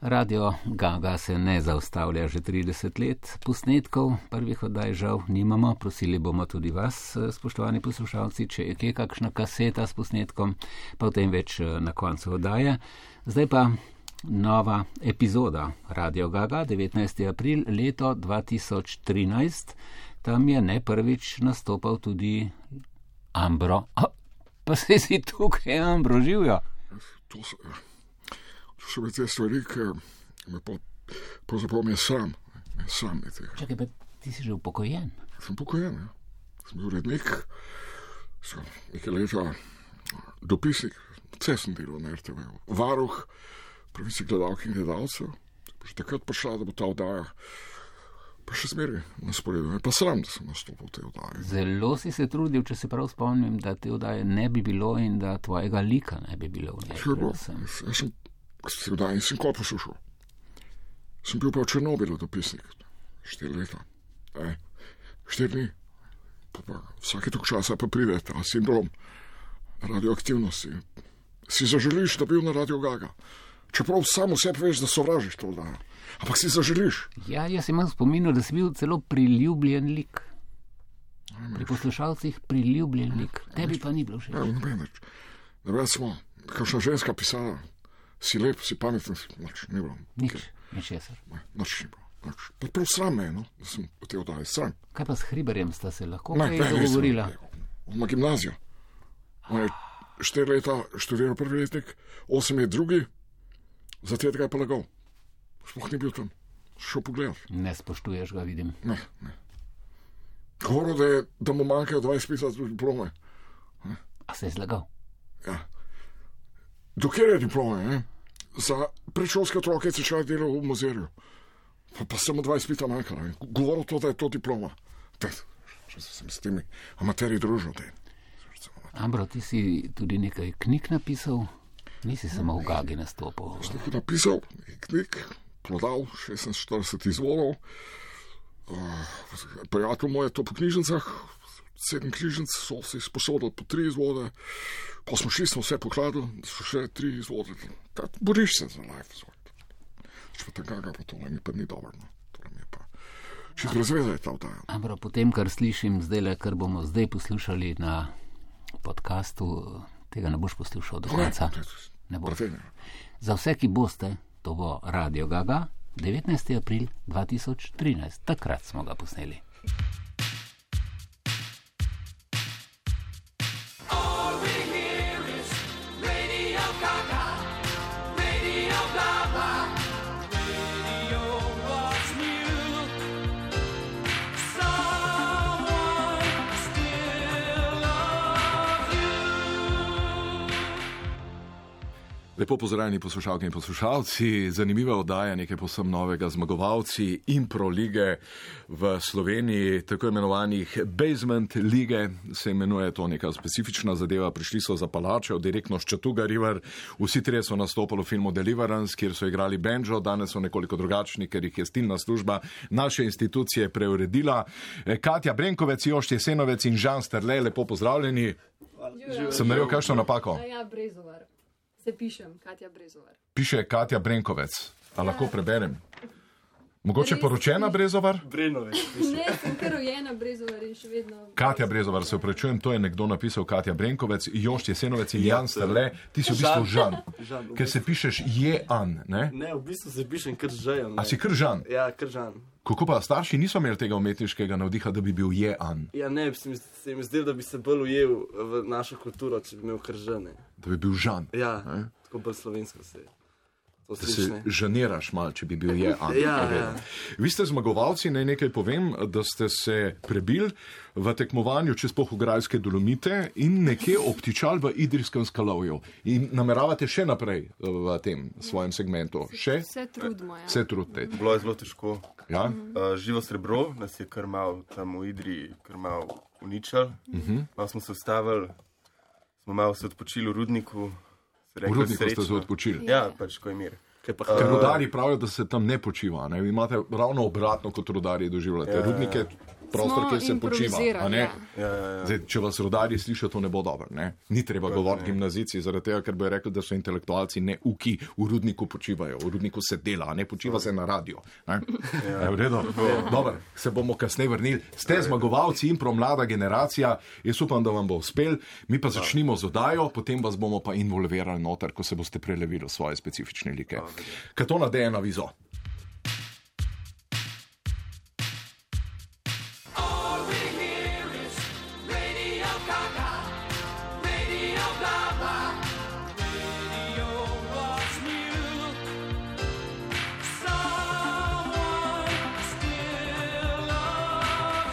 Radio Gaga se ne zaustavlja že 30 let, posnetkov prvih oddaj žal nimamo, prosili bomo tudi vas, eh, spoštovani poslušalci, če je kje kakšna kaseta s posnetkom, pa o tem več eh, na koncu oddaje. Zdaj pa nova epizoda Radio Gaga, 19. april leto 2013, tam je ne prvič nastopal tudi Ambro, A, pa se si tukaj Ambro živijo. To so, ja. to so bile te stvari, ki me po, pravzaprav mi je sam, ne, sam je tega. Čakaj, pa ti si že upokojen. Sem pokojen, ja. sem bil urednik, sem nekaj leta dopisnik, cesen delal na RTV, varuh pravic gledalk in gledalcev. Že takrat prišla, da bo ta oddaja. Pa še zmeraj na sporedu, Me pa sram, da sem nastopil v tej oddaji. Zelo si se trudil, če se prav spomnim, da te oddaje ne bi bilo in da tvojega lika ne bi bilo. v njej, Kaj je bilo? predvsem. Jaz jaz sem se vdaj in sem kot poslušal. Sem bil pa v Černobilu dopisnik, štiri leta, e, štiri dni. Pa pa vsake toliko časa pa pride ta sindrom radioaktivnosti. Si zaželiš, da bi bil na radio Gaga. Čeprav samo sebi veš, da sovražiš to oddajo. Ampak si zaželiš. Ja, jaz imam spomin, da si bil celo priljubljen lik. Pri poslušalcih priljubljen lik, tebi pa ni bilo še. Ne vem, ne več. Ne vem, smo, kakšna ženska pisala, si lep, si pameten, si nič, ni bilo. Nič, ničesar. Ne, Nič ni bilo. nič. Pa Prav sram me je, no, da sem v tej oddaji sram. Kaj pa s Hriberjem sta se lahko Ne, kaj ne, nisem dogovorila? rekel. Na gimnazijo. On je štiri leta študiral prvi letnik, osem je drugi, za tretjega je pa lagal. Sploh ni bil tam, šel pogled. Ne spoštuješ ga, vidim. Ne, ne. Govoril, da, je, da mu manjkajo 20 pisat diplome. A se je zlagal? Ja. Dokler je diplome, ne? za predšolske otroke si človek delal v muzeju. Pa, pa samo 20 pita manjkalo. in Govoril to, da je to diploma. Te, še sem s temi amaterji družil. Te. Ambro, ti si tudi nekaj knjig napisal, nisi samo v Gagi nastopal. Tako napisal, nekaj knjig, prodal 46 izvolov. Uh, prijatelj moj je to po knjižnicah, sedem knjižnic so si sposodili po tri izvode, pa smo šli, smo vse pokladili, so še tri izvode. Ta, boriš se za life, sort. Če pa tega, pa to mi pa ni dobro. No. Torej mi je pa. Še zelo zvezda je ta vdaja. Ambro, po tem, kar slišim zdaj, le kar bomo zdaj poslušali na podkastu, tega ne boš poslušal do konca. Ne boš. Brate, ne. Za vse, ki boste, to bo Radio Gaga, 19. april 2013, takrat smo ga posneli. All we hear is Radio Gaga, Radio Gaga. Radio was mute. Someone still loves you. Lepo pozdravljeni poslušalke in poslušalci, zanimiva oddaja nekaj posebno novega zmagovalci impro lige v Sloveniji, tako imenovanih basement lige, se imenuje to neka specifična zadeva, prišli so za palačo, direktno s Čatuga River, vsi trije so nastopali v filmu Deliverance, kjer so igrali banjo, danes so nekoliko drugačni, ker jih je stilna služba naše institucije preuredila. Eh, Katja Brenkovec, Jošt Jesenovec in Žan Strle, lepo pozdravljeni. Sem naredil kakšno napako? A ja, Brezovar. Se pišem, Katja Brezovar. piše Katja Brenkovec. A lahko preberem? Mogoče poročena Brezovar? Ne, sem kar rojena Brezovar in še vedno. Katja Brezovar, se upravičujem, to je nekdo napisal Katja Brenkovec, Jošt Jesenovec in Jan Strle, ti si v bistvu Žan, Ja, Žan, v ker se pišeš Jean, ne? Ne, v bistvu se pišem kar žejo. A si kar Žan? Ja, kar žan. Kako pa starši niso imeli tega umetniškega navdiha, da bi bil Jean, Ja, ne, se mi, se mi zdel, da bi se bolj ujel v našo kulturo, če bi imel kar žene. da bi bil Žan? Ja, Ne? tako bolj slovensko se. To Da se slišne. ženiraš malo, če bi bil je. Ante, Ja, seveda. ja. Vi ste zmagovalci, naj nekaj povem, da ste se prebili v tekmovanju čez pohograjske dolomite in nekje obtičali v idrijskem skalovju. In nameravate še naprej eh, v tem svojem segmentu. Še Vse trudimo, ja. se trudite. Bilo je zelo težko. Ja? Uh, živo srebro nas je kar malo tam v Idri, kar malo uničil. Uh Mhm. -huh. Malo smo se ustavili, smo malo se odpočili v rudniku. se V rekli rudniku ste srečno. se odpočili. Ja, pač ko je mir. Kaj pa Ker hvala? rudari pravijo, da se tam ne počiva. Ne? Vi imate ravno obratno, kot rudarji doživljate. Rudnike prostor, Smo kjer se počiva. a ne? improvizirali, Ja, ja, ja. Zdaj, če vas rodarji slišijo, to ne bo dobro. Ne? Ni treba govoriti gimnazici, zaradi tega, ker bojo rekli, da so intelektualci ne uki, v rudniku počivajo, v rudniku se dela, a ne počiva se na radio. Ne? Ja. Ja, Dobar, se bomo kasneje vrnili. Ste zmagovalci in promlada generacija, jaz upam, da vam bo uspel. Mi pa začnimo z odajo, potem vas bomo pa involvirali noter, ko se boste prelevili v svoje specifične like. Katona deje na vizo. All we hear is Radio Gaga, Radio blah blah. Radio was mute. Someone still loves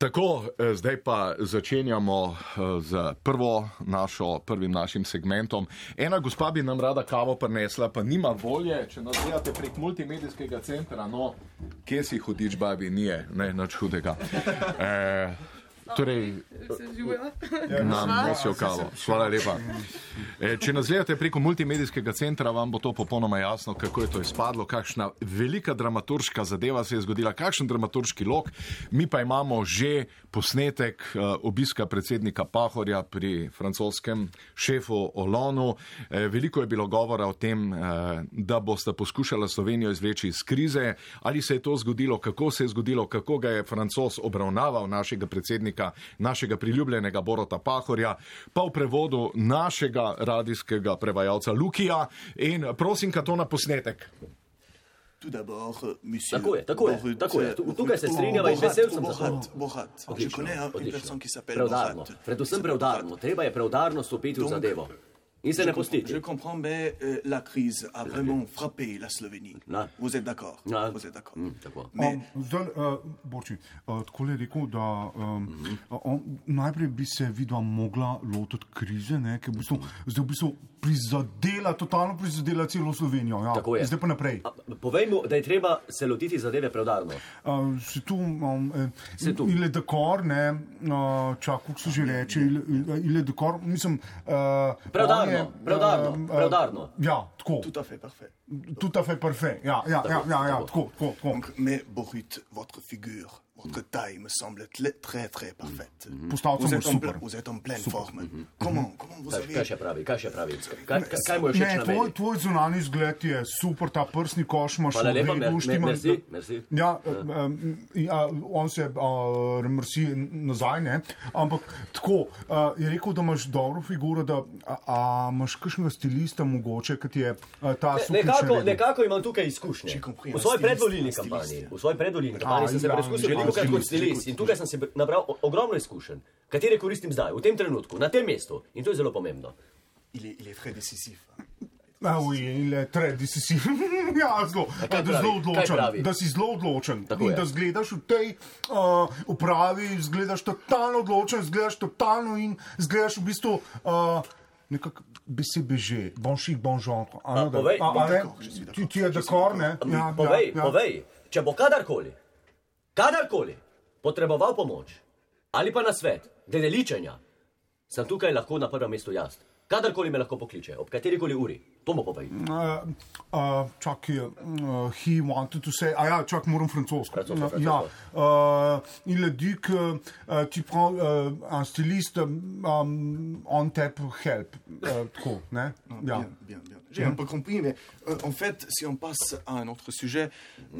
Tako, eh, zdaj pa začenjamo eh, z prvo našo, prvim našim segmentom. Ena gospa bi nam rada kavo prinesla, pa nima volje, če nas gledate prek multimedijskega centra, no, kje si hudič, babi, nije, ne, nič hudega. E, torej, Ja, nam nosijo kavo. Hvala lepa. E, Če nas gledate preko multimedijskega centra, vam bo to popolnoma jasno, kako je to izpadlo, kakšna velika dramaturška zadeva se je zgodila, kakšen dramaturški lok. Mi pa imamo že posnetek eh, obiska predsednika Pahorja pri francoskem šefu Olonu. E, Veliko je bilo govora o tem, eh, da boste poskušali Slovenijo izvleči iz krize. Ali se je to zgodilo, kako se je zgodilo, kako ga je francos obravnaval, našega predsednika, našega priljubljenega Borota Pahorja, pa v prevodu našega radijskega prevajalca Lukija. In prosim, Katona, posnetek. Tout d'abord, euh, monsieur. euh, Tako je, tako je, tako je. Tu- tukaj se strinjava in vesel sem za to. Bohat, Bohat. Je Odlično, connais ja, un- une odlično. personne qui s'appelle Preudarno, Bohat. predvsem Bohat. preudarno. Treba je preudarno stopiti v Donc, zadevo in se Je ne comprends- Je pustiti. comprends, mais euh, la crise Ah. Hmm, a vraiment frappé la Slovénie. Non. Vous êtes d'accord Non. Vous êtes d'accord Mm, tako. Mais Zdaj, uh, Borči, uh, tako je rekel, da um, mm Mhm. -hmm. on, najprej bi se videla mogla lotiti krize, ne, ki je v Mhm. bistvu, zdaj v bistvu prizadela, totalno prizadela celo Slovenijo. Ja. Tako je. Zdaj pa naprej. A, Povejmo, da je treba se lotiti zadeve preudarno. Uh, se tu, um, eh, Se tu. il est d'accord, ne, uh, čak, kako se že reče, il, il- il est d'accord, mislim. Uh, Preudarno, preudarno, eh, eh, preudarno. Ja, tako. tout à fait parfait. Tout à fait parfait. Ja, ja, ja, ja, ja tako, tako. tako. Donc, mais Borut, votre figure, votre taille me semble tl- très très parfaite. Postavca Vous mu êtes, en super. pla- vous êtes en pleine forme. Comment, comment vous Kaj, avez... kaj še pravi, kaj še pravi? Kaj, kaj, kaj mu je všeč Ne, na tvoj, meni? tvoj zunanji izgled je super, ta prsni koš imaš Hvala v lepa, redu, mer- mer- štima- merci, merci. Ja, um, ja, on se uh, mrsi nazaj, ne? ampak tako uh, je rekel, da imaš dobro figuro, da a, a, imaš kakšnega stilista mogoče, ki ti je uh, ta super. Nekako, nekako imam tukaj izkušnje. Če ja, komprijem, V svoji stilist, predvolilni stilist. kampanji, v svoji predvolilni kampanji A, sem se ja, preizkusil že veliko krat kot stilist, stilist in tukaj sem si br- nabral o- ogromno izkušenj, katere koristim zdaj, v tem trenutku, na tem mestu in to je zelo pomembno. Il est, il est très décisif. Ja, ujele, tredi si si. ja, zelo, kaj da, pravi? zelo Kaj odločen, pravi? da si zelo odločen. Tako in je. da zgledaš v tej uh, upravi, zgledaš totalno odločen, zgledaš totalno in zgledaš v bistvu. Uh, Nekako bi se beže, bon šik, bon žon. A, povej, bom tako, že si tako, ti, ti je že si dekor, tako. ne? Ja, Povej, ja, ja. povej, če bo kadarkoli, kadarkoli potreboval pomoč ali pa na svet, glede ličenja, sem tukaj lahko na prvem mestu jaz. Kadarkoli me lahko pokliče, ob katerikoli uri, to mu povej. Uh, uh, čak, je, uh, he wanted to say, a ja, čak moram francosko. Francosko, Uh, francosko. Ja, uh, il a dit que uh, tu prends uh, un styliste um, on tap help. Uh, tako, ne? Ja. Bien, bien, bien. J'ai Hmm. un peu compris, mais euh, en fait, si on passe à un autre sujet,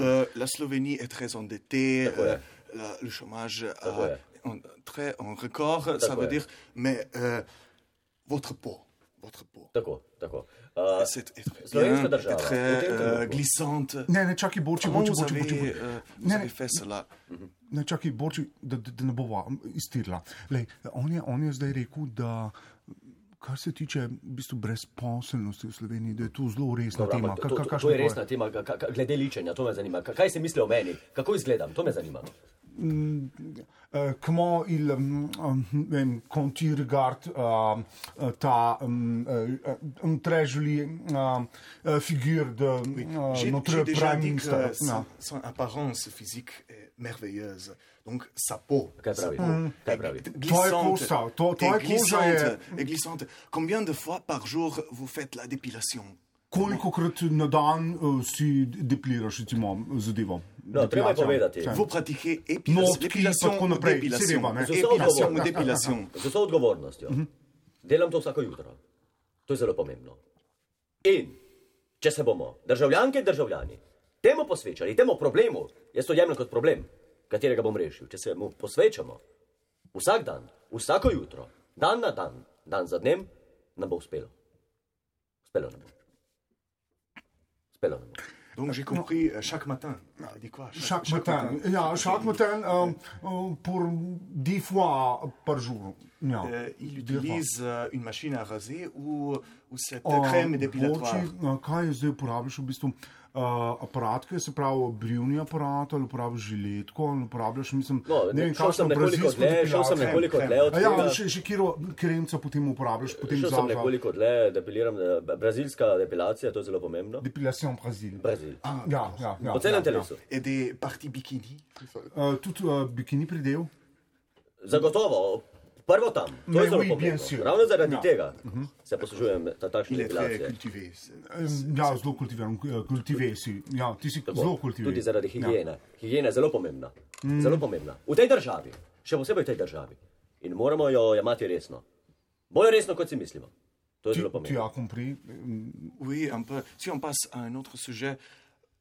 euh, la Slovénie est très endettée, euh, la- le chômage a- ouais. en, très en record, ça veut ouais. dire, mais euh, votre peau, votre peau, Tako, tako. Uh, c'est est très, Slovenska bien, država, est v tem très euh, trenutku. glissante. Ne, ne, čakaj, borči, Comment borči, vous borči, avez, borči, borči. euh, vous Ne, avez ne, fait cela ne, čakaj, borči, da, da, da ne bova iztirila. Lej, on, je, on je zdaj rekel, da. Kar se tiče v bistvu brezposelnosti v Sloveniji, da je to zelo resna Dobro, tema. ampak Ka- to, ka- to, to kakšno je je resna tvoje? tema, ka, ka, glede ličenja, to me zanima. Ka- Kaj se misli o meni, kako izgledam, to me zanima. Euh, comment il, euh, euh, quand il regarde euh, euh, ta euh, euh, une très jolie euh, euh, figure de euh, J'ai notre j'ai déjà Prime dit que euh, Minister. Ja. son, Non. son apparence physique est merveilleuse. Donc sa peau, Kaj sa pravi? Kaj pravi? glissante, Toi, Costa, toi- et toi, Costa, glissante, euh, et glissante. Combien de fois par jour vous faites la dépilation Koliko krat na dan uh, si depliraš recimo, zadevo? Ja. No, treba je Depilacijo. povedati. Kaj? Vous pratiquez Notki pa tako naprej, seveda, ne. Z vso odgovornostjo. Z vso odgovornostjo. Hm. Delam to vsako jutro. To je zelo pomembno. In če se bomo državljanke in državljani temu posvečali, temu problemu, jaz to jemljem kot problem, katerega bom rešil, če se mu posvečamo vsak dan, vsako jutro, dan na dan, dan za dnem, nam bo uspelo. Uspelo nam bo. Uspelo nam bo. Donc j'ai compris euh, chaque matin. Il dit quoi Chaque, matin. Ja, chaque matin euh, euh, pour 10 fois par jour. Ja. Euh, il Dix fois. Oh, utilise euh, une machine à raser ou, ou cette O, crème dépilatoire. mogoče, a, Kaj je zdaj uporabiš v bistvu? Uh, aparat, ki se pravi brivni aparat, ali uporabiš žiletko, ali uporabiš, mislim, No, ne, šel sem nekoliko brazilsko dlje, šel depilacijo. sem nekoliko dlje od A Ja, tega. še, še kjero kremca potem uporabiš, potem Šel za sem nekoliko dlje, depiliram, eh, brazilska depilacija, to je zelo pomembno. Depilacijo Brazil. Brazil. Ja, ja, ja, Po celem ja, telesu. Et des parties bikini. Uh, tudi uh, bikini pridel. Zagotovo, prvo tam, to Mais je zelo oui, bien sûr. pomembno. Ravno zaradi Ja. tega se poslužujem ta- takšne Il est très depilacije. cultivé. c'est- Em, Ja, zelo kultiviran, eh, kultive si. Ja, ti si Tako, zelo Ja. Mm. kultiviran. Tudi zaradi higiene. Higiena je zelo pomembna. Zelo pomembna. V tej državi, še posebej v tej državi. In moramo jo jemati resno. Bolj resno, kot si mislimo. To je Tu, zelo tu pomembno. as compris. euh, Oui, un peu. Si on passe à un autre sujet,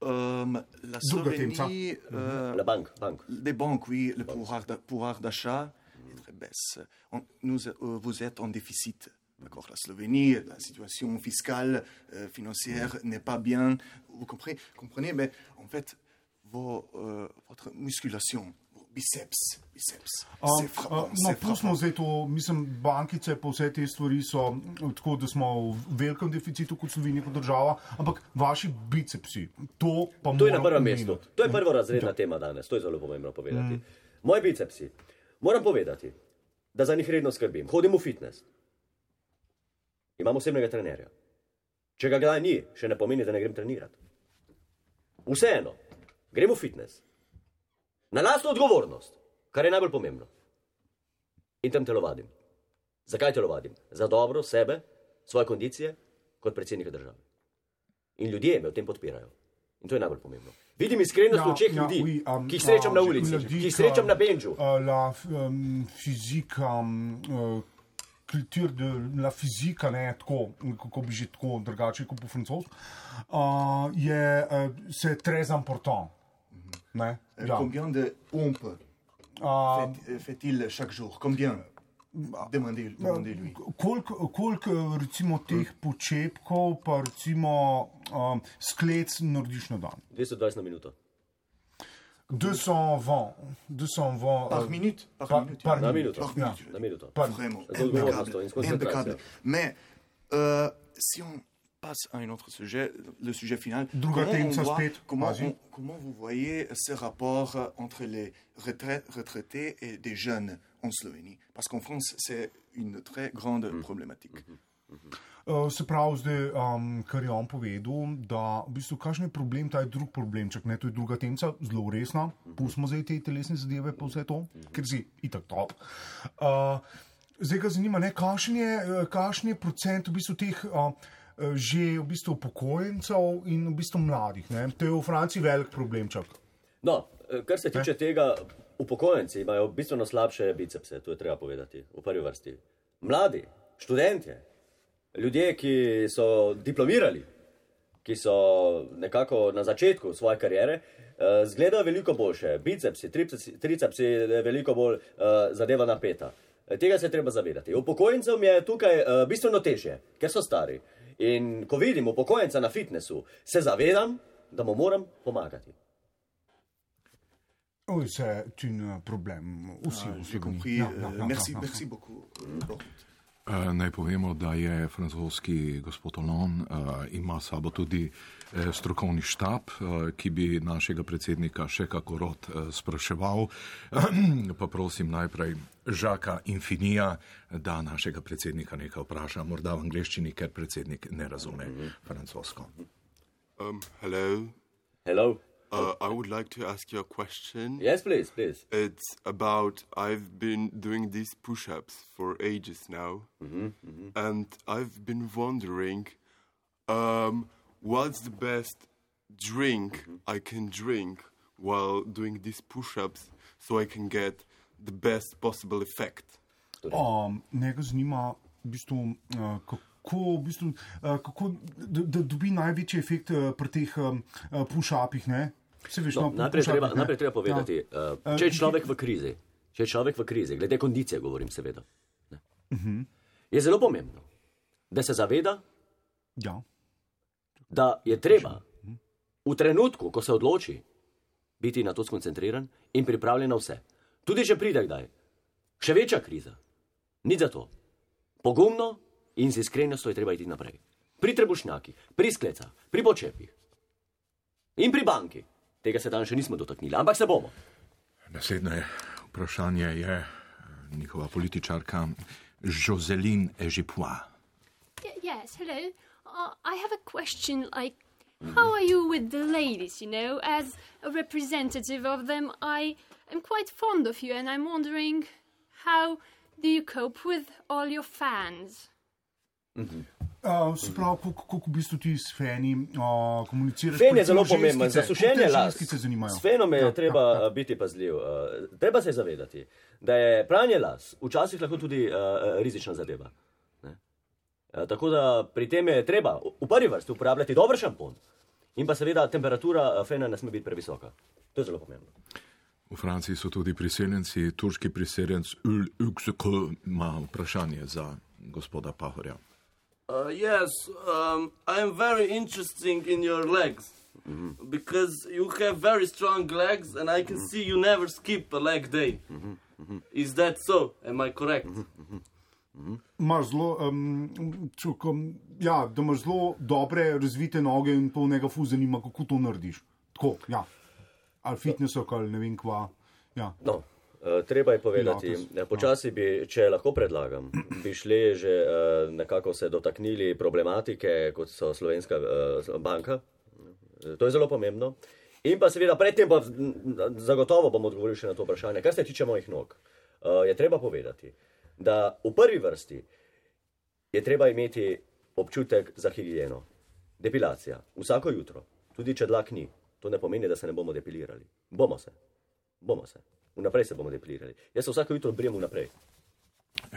euh, la Double team, ça. Slovénie, euh, La bank, bank. les banques, oui, le pouvoir d'a- pouvoir d'achat est très baisse. On- nous, euh, vous êtes en déficit. D'accord, la Slovénie, la situation fiscale, euh, financière n'est pas bien. Vous comprenez, comprenez, mais en fait, vos, euh, votre musculation, vos biceps, biceps, c'est frappant, no, c'est tu smo frappant. zdaj to, mislim, bankice, pa vse te stvari so mm, tako, da smo v velikem deficitu kot Slovenija, kot država, ampak vaši bicepsi, to pa To je moram na prvem omeniti. mestu. To je prva razredna tema danes, to je zelo pomembno povedati. Mm. Moji bicepsi. Moram povedati, da za njih redno skrbim. Hodim v fitness. Imam osebnega trenerja. Če ga kdaj ni, še ne pomeni, da ne grem trenirati. Vseeno, grem v fitness. Na lastno odgovornost, kar je najbolj pomembno. In tam telovadim. Zakaj telovadim? Za dobro sebe, svoje kondicije, kot predsednika države. In ljudje me v tem podpirajo. In to je najbolj pomembno. Vidim Ja, iskrenost v očeh ljudi, oui, um, ki jih srečam na ah, ulici, ljudi, ki jih srečam na benču. ah, la um, fizika, um, uh, kultur, de, la fizika, ne tako, kako bi že tako drugače kot po francosko, uh, je uh, se trez important. Ne? Euh, Ja. Combien de pompes Uh, fait- euh, fait-il chaque jour Combien Demandez- Demandez-lui. Ja. Bah, Koliko kolik, eh, recimo teh počepkov, pa recimo um, sklec narediš na dan? 220 na minuto. 220, 220 Par eh, minute Par, par- minute. par Na minute. minuto. Ja. Na minuto. Par- Vraiment Za odgovornost impeccable, in s koncentracijo. impeccable. Mais euh, si on passe à un autre sujet, le sujet final, Druga comment, tema on sa voit- spet, comment, vas-y. on- comment vous voyez ce rapport euh, entre les retrai- retraités et des jeunes en Slovénie Parce qu'en France, c'est une très grande problématique. Eh, Se pravi, zdaj, um, kar je on povedal, da v bistvu kakšen je problem, ta je drug problemček, ne, to je druga temca, zelo resna, pustimo zdaj te telesne zadeve, pa vse to, ker si itak top. Uh, zdaj ga zanima, ne, kakšen je, eh, kakšen je procent v bistvu teh. Uh, Že v bistvu upokojencev in v bistvu mladih. Ne? To je v Franciji velik problemček. No, eh, kar se tiče tega, upokojenci imajo bistveno slabše bicepse, to je treba povedati v prvi vrsti. Mladi, študentje, ljudje, ki so diplomirali, ki so nekako na začetku svoje kariere, eh, zgledajo veliko boljše. Bicepsi, tricepsi, tricepsi eh, veliko bolj eh, zadeva napeta. Eh, Tega se je treba zavedati. Upokojencem je tukaj eh, bistveno težje, ker so stari. In ko vidim upokojenca na fitnesu, se zavedam, da mu moram pomagati. Oj, se tu je problem, vsi Ah, v J'ai Sloveniji. compris. Ja, Euh, ja, ja, merci, ja, ja. merci beaucoup. euh, Laurent. Eh, Naj povemo, da je francoski gospod Olon ima s sabo tudi eh, strokovni štab, eh, ki bi našega predsednika še kako rod eh, spraševal. Pa prosim najprej Žaka Infinija, da našega predsednika nekaj vpraša, morda v angleščini, ker predsednik ne razume francosko. Um, hello. Hello. Uh, I would like to ask you a question. Yes, please, please. It's about I've been doing these push ups for Mm-hmm, ages now, and I've been wondering um, What's the best drink Mm-hmm. I can drink while doing these push ups so I can get the best possible effect? Torej. Um, njega zanima, v bistvu, uh, kako, v bistvu, uh, kako da, da dobi največji efekt uh, pri teh um, uh, push-upih. ne? Saj veš, No, no, najprej, push-upih, treba, ne. najprej treba povedati, ja. Eh, če je ki- človek v krizi, če je človek v krizi, glede kondicije govorim, seveda, Mhm. je zelo pomembno, da se zaveda, Ja. da je treba v trenutku, ko se odloči, biti na to skoncentriran in pripravljen na vse. Tudi če pride kdaj, še večja kriza, nič za to. Pogumno in z iskrenostjo je treba iti naprej. Pri trebušnjakih, pri sklecah, pri počepih in pri banki. Tega se danes še nismo dotaknili, ampak se bomo. Naslednje vprašanje je eh, njihova političarka Joselin Ežipua. Y- yes, hello. Uh, I have a question like, how are you with the ladies, you know? As a representative of them, I am quite fond of you and I'm wondering how do you cope with all your fans? Uh, se pravi, kako- kako v bistvu ti s feni uh, komuniciraš? Fen je predvsem zelo ženskice, pomemben za kako sušenje te las. ženskice zanimajo? S fenom je Ja, ja, treba ja, ja, ja. biti pazljiv. eh, Treba se je zavedati, da je pranje las včasih lahko tudi eh, rizična zadeva. Ne? Eh, Tako da pri tem je treba v- v prvi vrsti uporabljati dober šampon. In pa seveda temperatura eh, fena ne sme biti previsoka. To je zelo pomembno. V Franciji so tudi priseljenci, turški priseljenc Ül Ükseko ima vprašanje za gospoda Pahorja. Uh, yes, um, I'm very interested in your legs Mhm. because you have very strong legs, and I can see you never skip a leg day. Mhm, Is that so? Am I correct? mhm. Imaš zelo, um, čuk, um, ja, da imaš zelo dobre, razvite noge in to njega fu zanima, kako to narediš. Tako, ja. Ali fitness, ali ne vem kva. Ja. No, eh, treba je povedati, Pilates, eh, počasi bi, če lahko predlagam, bi šli že eh, nekako se dotaknili problematike, kot so Slovenska eh, banka. Eh, To je zelo pomembno. In pa seveda predtem, pa, mm, zagotovo bom odgovoril še na to vprašanje, kar se tiče mojih nog. eh, Je treba povedati, da v prvi vrsti je treba imeti občutek za higieno. Depilacija. Vsako jutro, tudi če dlak ni, to ne pomeni, da se ne bomo depilirali. Bomo se. Bomo se. Vnaprej se bomo depilirali. Jaz se vsako jutro brijem vnaprej.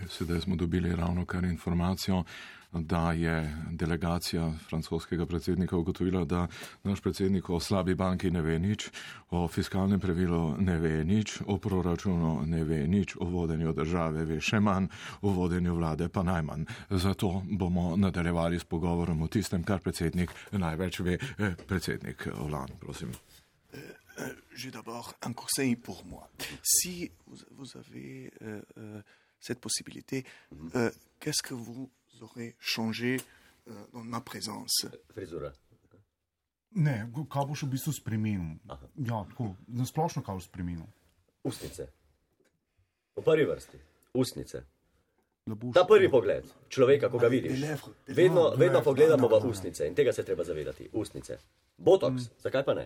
Sedaj smo dobili ravno kar informacijo, da je delegacija francoskega predsednika ugotovila, da naš predsednik o slabi banki ne ve nič, o fiskalnem pravilu ne ve nič, o proračunu ne ve nič, o vodenju države ve še manj, o vodenju vlade pa najmanj. Zato bomo nadaljevali s pogovorom o tistem, kar predsednik največ ve. Eh, Predsednik Olan, prosim. Euh, J'ai d'abord un conseil pour moi. Si vous, vous avez euh, euh, cette possibilité, euh, qu'est-ce que vous aurez changé euh, dans ma présence Frisura. Ne, go- kaj boš v bistvu spremenil? Ja, tako, na splošno kaj boš spremenil. Ustnice. V prvi vrsti. Ustnice. Ta prvi pogled človeka, ko ga vidiš, vedno, vedno pogledamo v ustnice in tega se je treba zavedati. Ustnice. Botoks, Mm. zakaj pa ne?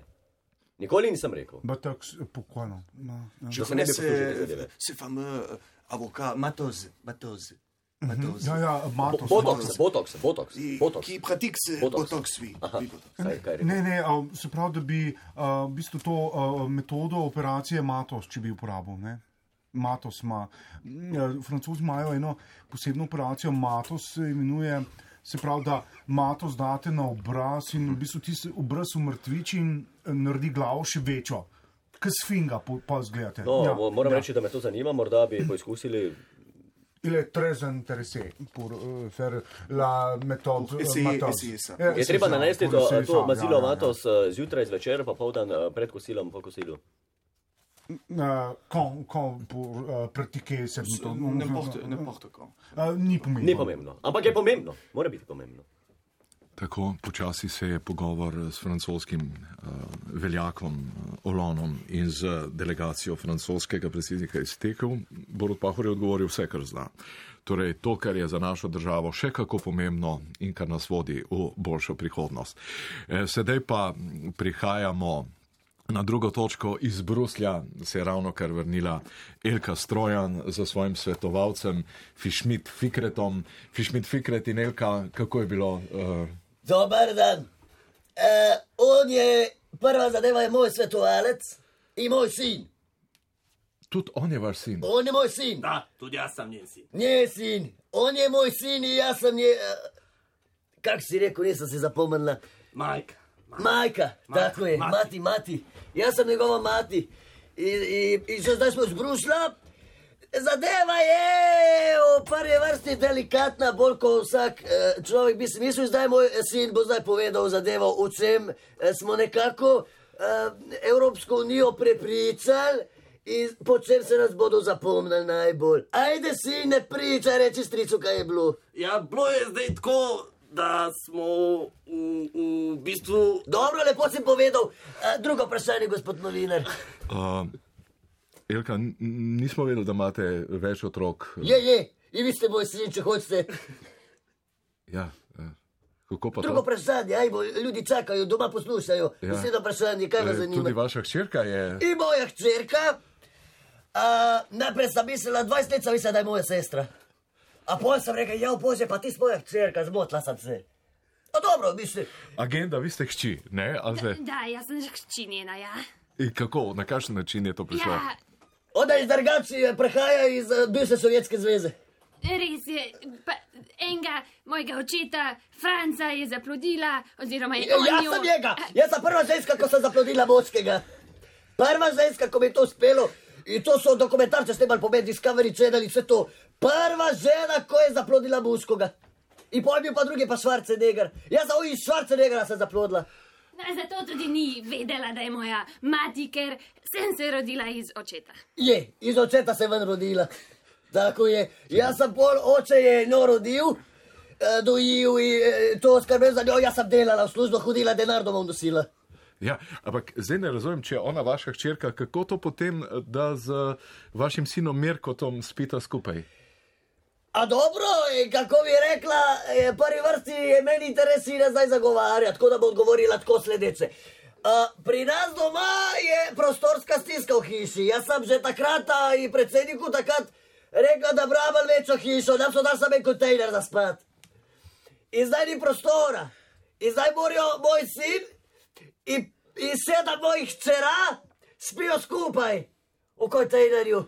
Nikoli nisem rekel. Botox, pokojno. No, no. Je connais ce, ce fameux euh, avocat Matos. Matos. Mhm. Ja, ja, Matos. Botox, botox, botox, botox. Qui pratique ce botox, oui. oui, botox. Ne, ne, a, se pravi, da bi a, v bistvu to a, metodo operacije Matos, če bi uporabil. Ne? Matos ima, m, francozi imajo eno posebno operacijo, Matos se imenuje. Se pravi, da Matos date na obraz in v bistvu ti se obraz umrtviči in eh, naredi glavo še večjo. Kaj sfinga, pa, pa zgledate. Ja. No, mo- moram reči, da me to zanima, morda bi poizkusili. Il est très intéressé pour euh, faire la méthode. euh, essayer- Matos. essayer ça. Eh, Je c'est treba ça, nanesti pour to, essayer to ça, mazilo ja, ja, ja. matos eh, zjutraj, zvečer, pa povdan eh, pred kosilom, po kosilu. Euh, quand, quand pour euh, pratiquer cette méthode Non, n'importe- non, non. n'importe quand. Euh, ni pomembno. Ni pomembno, ampak je pomembno, mora biti pomembno. Tako počasi se je pogovor s francoskim uh, veljakom uh, Olonom in z delegacijo francoskega predsednika iztekel. Borod Pahor je odgovoril vse, kar zna. Torej, to, kar je za našo državo še kako pomembno in kar nas vodi v boljšo prihodnost. Eh, Sedaj pa prihajamo Na drugo točko iz Bruslja se je ravno kar vrnila Elka Strojan za svojim svetovalcem Fišmit Fikretom. Fišmit Fikret in Elka, kako je bilo? Uh, Dobar dan. E, on je, prva zadeva je moj svetovalec i moj sin. Tudi on je vaš sin. On je moj sin. Da, tudi jaz sam njen sin. Nje sin. On je moj sin i ja sam nje... e, Kak si rekao, nisam se zapomnila. Majka. Majka, tako je, mati, mati. Ja sam njegova mati. I, i, i sad da smo iz Brusla, zadeva je o par je vrsti delikatna, bolj kot vsak eh, človek bi si mislil, zdaj moj e, sin bo zdaj povedal zadevo, v čem eh, smo nekako eh, Evropsko unijo prepričali. In po čem se nas bodo zapomnili najbolj? Ajde, si ne priča, reči stricu, kaj je bilo. Ja, bilo je zdaj tako, da smo v, v bistvu. Dobro, lepo si povedal. Eh, Drugo vprašanje, gospod novinar. Uh, Elka, n- n- nismo vedeli, da imate več otrok. Je, je, in vi ste moj sin, če hočete. Ja, eh, kako pa Drugo to? vprašanje, ajmo, ljudi čakajo, doma poslušajo. Ja. Naslednje vprašanje, kaj vas Eh, zanima? E- Tudi vaša hčerka je. In moja hčerka, a, najprej sem mislila, 20 let sem mislila, da je moja sestra. A pol sem rekel, ja, bože, pa ti si moja hčerka, zmotila sem se. No, dobro, mislim. Agenda, vi ste hči, ne? A zdaj- Da, jaz sem že hči njena, ja. In kako, na kakšen način je to prišlo? Ja, Ona iz Dargači prihaja iz eh, bivše Sovjetske zveze. res je. Pa, enega mojega očeta, Franca, je zaplodila, oziroma je on E, Jaz jo- Ja, sem njega, jaz sem prva ženska, ko sem zaplodila moškega. Prva ženska, ko mi je to uspelo. In to so dokumentarce snimali po meni, Discovery Channel in vse to. Prva žena, ko je zaplodila moškega. In pojem pa drugi pa Schwarzenegger. Jaz sem iz Schwarzeneggera sem zaplodila. No, Zato tudi ni vedela, da je moja mati, ker sem se rodila iz očeta. Je, iz očeta se je ven rodila. Tako je. Jaz sem pol oče je njo rodil, eh, dojil in eh, to skrbel za njo. Jaz sem delala v službo, hodila, denar domov nosila. Ja, ampak zdaj ne razumem, če je ona vaša hčerka, kako to potem, da z vašim sinom Mirkotom spita skupaj. A dobro, eh, kako bi rekla, eh, prvi vrsti je meni interesira zdaj zagovarja, tako da bo odgovorila tako sledeče. A, pri nas doma je prostorska stiska v hiši. Jaz sem že takrat a, in predsedniku takrat rekla, da brabam večjo hišo, da so dal samo en kontejner za spat. In zdaj ni prostora. In zdaj morajo moj sin in, in sedem mojih čera spijo skupaj v kontejnerju.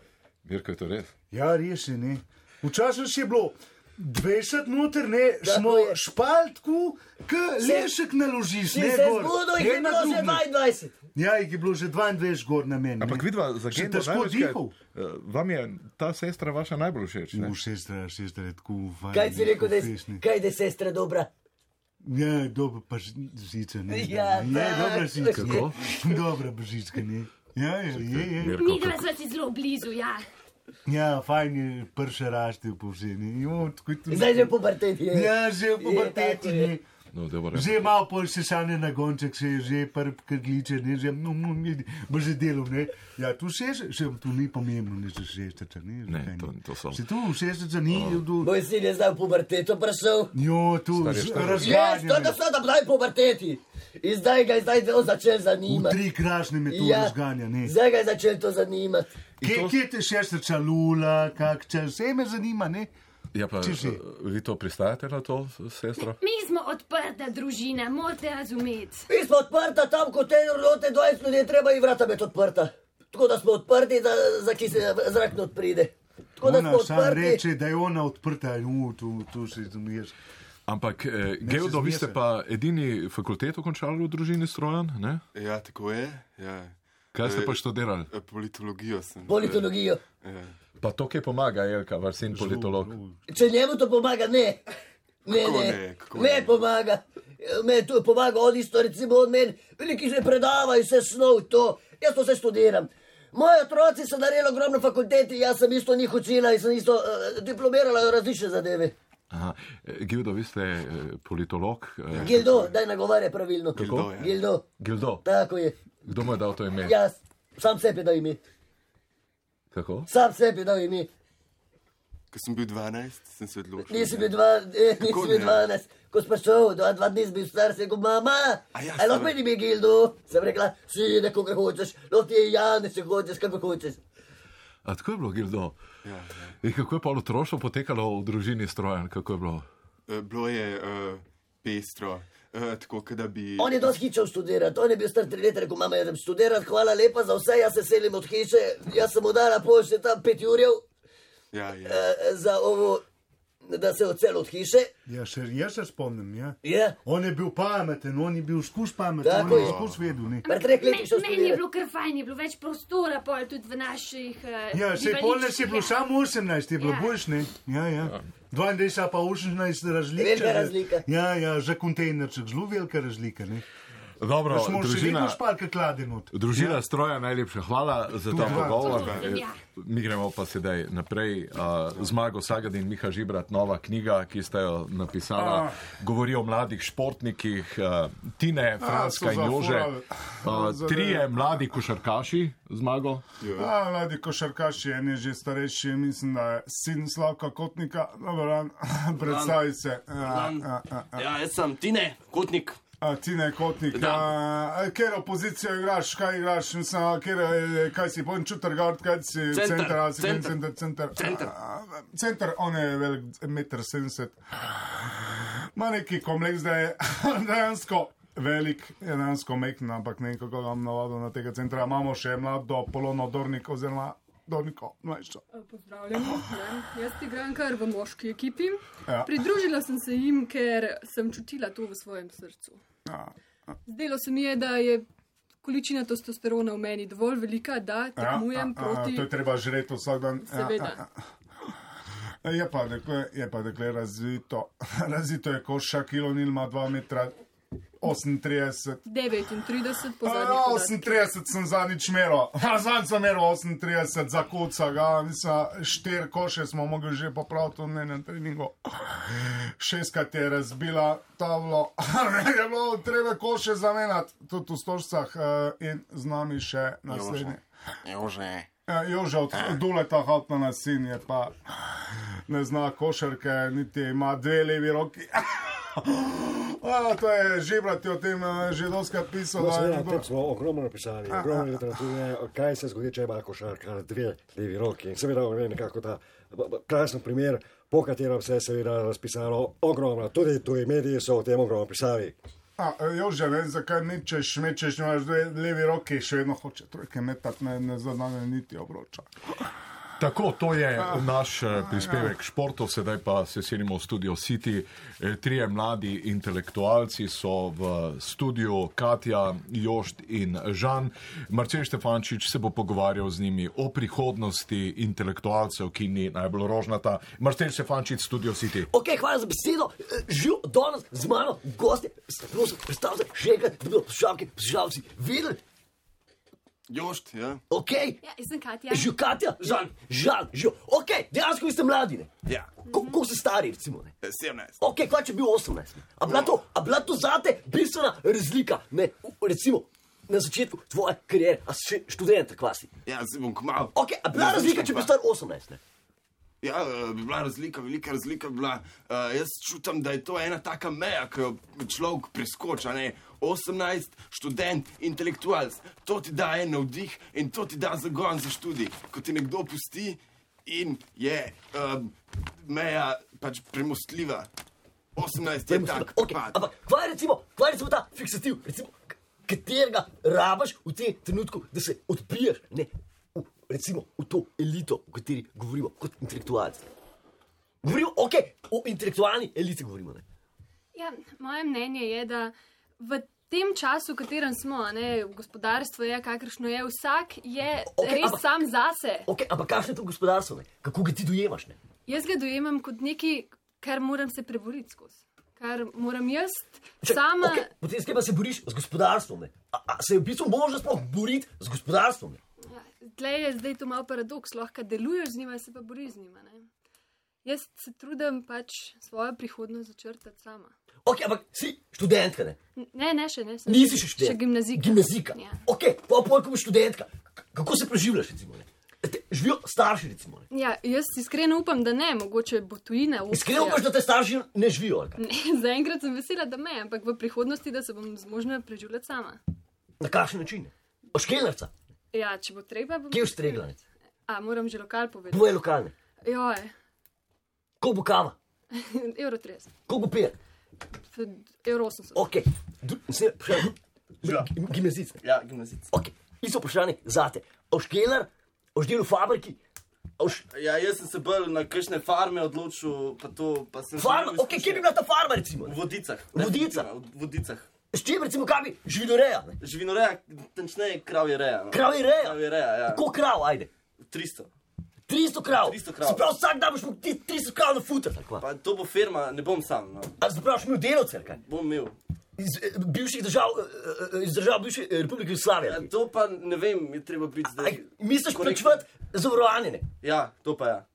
Mirko je to res. Ja, res je. Ne. Včasih še je bilo 20 noter, ne, smo špaltku, k Se- lešek naložiš. Si ne, se gor. zbudil, jih je Ne na bilo že dubnu. 22. Ja, jih je bilo že 22 gor na meni. Ampak ne. vidva, za Še agendo težko največ kaj- dihal. No, Eh, Vam je ta sestra vaša najbolj všeč? Ne? Sestra, sestra je tako fajn. Kaj si rekel, da je, fešni. kaj da je sestra dobra? Ja, dobro, pa ž- žica ne. Ja, ne, tak. dobra žica. Kako? Dobra žica ne. Ja, ja, je, je. Mi dva sva si zelo blizu, ja. Ja, fajn je prše raštev po vsem. Zdaj že pubertet je. Ja, že Je, v puberteti. tako je. ne. No, dobro. Že malo bolj se sane na gonček, se je že prpkliče, ne, že no, no, ne, bo že delal, ne. Ja, tu se že, tu ni pomembno, ne, že šestica, ne. Ne, to, to so. Se tu šestica ni, tu... Moj sin je zdaj v puberteto prišel. Jo, tu Star je z- 40. Jaz, razganjanje. to je vse, da zdaj v puberteti. In zdaj ga je zdaj zelo začel V zanimati. tri krašne metode Ja. ja. zganja, ne. Zdaj ga je začel to zanimati. Kje, kje te šestica lula, kak če, vse me zanima, ne. Ja, pa, Če že. eh, vi to pristajate na to, s- sestra? Mi smo odprta družina, morate razumeti. Mi smo odprta tam, kot te rote 20 ljudi, je treba in vrata biti odprta. Tako da smo odprti, da za ki se zrak ne odpride. Tako da smo Ona sam odprti. reče, da je ona odprta, jo, tu, tu se izumiješ. Ampak, eh, Ne, Geodo, se vi ste zmešaj. pa edini fakulteto končali v družini Strojan, ne? Ja, tako je. Ja. Kaj ste Eh, pa študirali? eh, Politologijo sem. Politologijo. Ja. Pa to, ki pomaga, Elka, vaš sin politolog. Če njemu to pomaga, ne. Ne, Kako ne, ne, kako ne pomaga. Me tu pomaga, on isto, recimo, od meni, veliki že predava in vse snov to. Jaz to vse študiram. Moji otroci so naredili ogromno fakulteti, jaz sem isto njih učila in sem isto uh, diplomirala različne zadeve. Aha, eh, Gildo, vi ste eh, politolog. eh, Gildo, daj nagovarja pravilno. Kako? Gildo, Gildo, tako je. Ja. kdo mu je dal to ime? Jaz sam sebi dal ime. Kako? Sam sebi dal ime. Ko sem bil 12, sem se odločil. Nisi ja. bil dva- eh, nisi Kako bil ne? 12, ko si prišel, dva, dva dni si bil star, si rekel, mama, ja, ali lahko meni bi gildo, sem rekla, si neko, kar hočeš, no ti je Janez, če hočeš, kar pa hočeš. A tako je bilo, Gildo. Ja, ja. In kako je pa otroštvo potekalo v družini Strojan? Kako je bilo? Eh, Bilo je uh, eh, pestro. eh, tako, kot da bi. On je dosti hičev študirati, on je bil star tri leta, rekel: Mama, jedem študirati, hvala lepa za vse, jaz se selim od hiše, jaz sem mu dala pošte tam pet jurjev Ja, ja. eh, za ovo, da se odsel od hiše. Ja, še, jaz se spomnim. Ja. Ja. On je bil pameten, on je bil skus pameten, Tako on je je. skus vedel. ne. meni je bilo kar fajn, je bilo več prostora, pol tudi v naših. Uh, Ja, se je polne, si bilo samo 18, je bilo ja. boljš, ne? Ja, ja. 22 pa 18 razlika. Velika že- razlika. Ja, ja, za kontejnerček, zelo velika razlika, ne? Dobro, Da smo še družina- vedno špalke kladenot. Družina ja. stroja, najlepša hvala za ta Tudi vam. pogovor. Eh, Tudi vam. Mi gremo pa sedaj naprej. Uh, Zmago Sagadin in Miha Žibrat, nova knjiga, ki ste jo Ah. napisala, Ah, govori o mladih športnikih, uh, Tine, Franska so in Jože. zafurali. Uh, trije mladi košarkaši, Zmago. Ja, mladi košarkaši, en je že starejši, mislim, da je sin Slavka Kotnika, dobro, on, predstavi se. Ja, Dan. ja, ja, ja. Ja, jaz sem Tine, kotnik. A, Tine Kotnik, ja. Da. a, katero pozicijo igraš, kaj igraš, mislim, a, katero je- kaj si pončuter, guard, kaj si Center, center, ali si center. center, center, center. Center. A, a, center, on je velik 1,70 m. Ma neki kompleks, da je dejansko velik, je dejansko mehko, ampak ne vem, kako ga bom navadil na tega centra. Imamo še mlado polono Dorniko oziroma Dorniko mlajšo. Pozdravljeni. eh, ne. Jaz igram kar v moški ekipi. Ja. Pridružila sem se jim, ker sem čutila to v svojem srcu. Ja. Zdelo se mi je, da je količina testosterona v meni dovolj velika, da tekmujem a, a, proti. Ja, To je treba žreti vsak dan. Ja, Seveda. a, a. E, Je pa dekle, je pa dekle razvito. Razvito je koša, kilo nilma 2 metra 38. 39 po zadnjih A, podatkih. 38 sem zadnjič meril, A, zadnjič sem meril 38 za koca, ga, mislim, štiri koše smo mogli že popraviti v enem treningu. Šestkrat je razbila tavlo, je bilo treba koše zamenjati, tudi v stožcah eh, in z nami še naslednji. Jože. Eh, Jože od Duleta Hotna na sin je pa ne zna košarke, niti ima dve levi roki. A, to je žibrati o tem eh, že doskrat pisal. No, da je seveda, o kdo- tem smo ogromno napisali, ogromno literature, kaj se zgodi, če ima košarka na dve levi roki. In seveda, on je nekako ta b- b- krasen primer, po katerem se je seveda razpisalo ogromno. Tudi tuji mediji so o tem ogromno pisali. A, eh, Jože, vem, zakaj mečeš, mečeš, imaš dve levi roki, še vedno hoče trojke metati, ne, ne zadane niti obroča. Tako, to je naš eh, prispevek k športu, sedaj pa se selimo v studio City. Eh, Trije mladi intelektualci so v studiu Katja, Jošt in Žan. Marcel Štefančič se bo pogovarjal z njimi o prihodnosti intelektualcev, ki ni najbolj rožnata. Marcel Štefančič, studio City. Ok, hvala za besedo. Eh, Živ danes z mano, gosti, prosim, predstavljaj še enkrat, kdo poslušalke, poslušalci, videli? Jošt, ja. Ok, Ja, jaz sem Katja. živ Katja, žal, žal, živ. Ok, dejansko vi ste mladi, ne? Ja. Eh, Kako ste stari, recimo? Ne? 17. Ok, kaj če bi bil 18? ne? A bila to, a bila to zate bistvena razlika, ne? U- Recimo, na začetku tvoje kariere, a si še študent, kva si. Ja, zdaj bom kmalu. Ok, a bila razlika, če bi bil star 18? Ne? Ja, eh, bi bila razlika, velika razlika. bi Bila, uh, jaz čutim, da je to ena taka meja, ki jo človek preskoča. Ne? 18, študent, intelektualc. To ti da en navdih in to ti da zagon za študij. Ko ti nekdo pusti in je um, meja pač premostljiva. 18 je tak. Okay, ampak kva je recimo, kva je recimo ta fiksativ, recimo, k- katerega rabaš v tem trenutku, da se odpriješ, ne? V, recimo v to elito, o kateri govorimo kot intelektualci. Govorimo, ok, o intelektualni eliti govorimo. Ne? Ja, moje mnenje je, da v tem času, v katerem smo, a ne, gospodarstvo je, kakršno je, vsak je Okej, res ampak- sam zase. Okay, ampak kakšno je to gospodarstvo, ne? kako ga ti dojemaš? Ne? Jaz ga dojemam kot nekaj, kar moram se preboriti skozi. Kar moram jaz sama. Okay, potem skaj pa se boriš z gospodarstvom. Ne? A, a se je v bistvu možno sploh boriti z gospodarstvom? Ne? Tle je zdaj to malo paradoks, lahko deluješ z njima, se pa boriš z njima. Ne? Jaz se trudim pač svojo prihodnost začrtati sama. Ok, ampak si študentka, ne? N- Ne, ne, še ne. sem- nisi še študentka. Še gimnazijka. Gimnazika. Ja. Ok, pa polkom študentka. K- Kako se preživljaš, recimo? Ne? E, Te, živijo starši, recimo. Ne? Ja, jaz iskreno upam, da ne, mogoče bo tujina. opcija. Iskreno upaš, da te starši ne živijo. ali kaj? Ne, zaenkrat sem vesela, da me, ampak v prihodnosti, da se bom zmožna preživljati sama. Na kakšen način? ne? Boš kelnerca, Ja, če bo treba, bom. kje boš streglanec? A, moram že lokal povedati. Dvoje lokalne. Joj, Koliko bo kava, evro 30. koliko bo pijer? Euro 80. Ok, Du- zdaj še- Gim- Gimnazist. Ja, gimnazist. Ok, isto vprašanje zate. Oš Keller, oš delo v fabriki, oš Ja, jaz sem se bolj na kakšne farme odločil, pa to pa sem. Farma? Okej, kje bi bila ta farma, recimo? V vodicah. Vodica? V vodicah. S čim, recimo, kaj bi? Živinoreja. Živinoreja, tančneje kravje reja. no. Kravje reja? Kravje reja, ja. Koliko krav, ajde? 300. 300 krav. 300 krav. Se pravi, vsak dan boš imel ti 300 krav na futer. Pa to bo firma, ne bom sam. No. A se pravi, boš imel delavce, ali kaj? Bom imel. Iz eh, bivših držav, eh, eh, iz držav bivše eh, Republike Jugoslavije. Ja, to pa ne vem, je treba biti zdaj. Misliš korekten. plačevati zavarovanje? ne? Ja, to pa ja.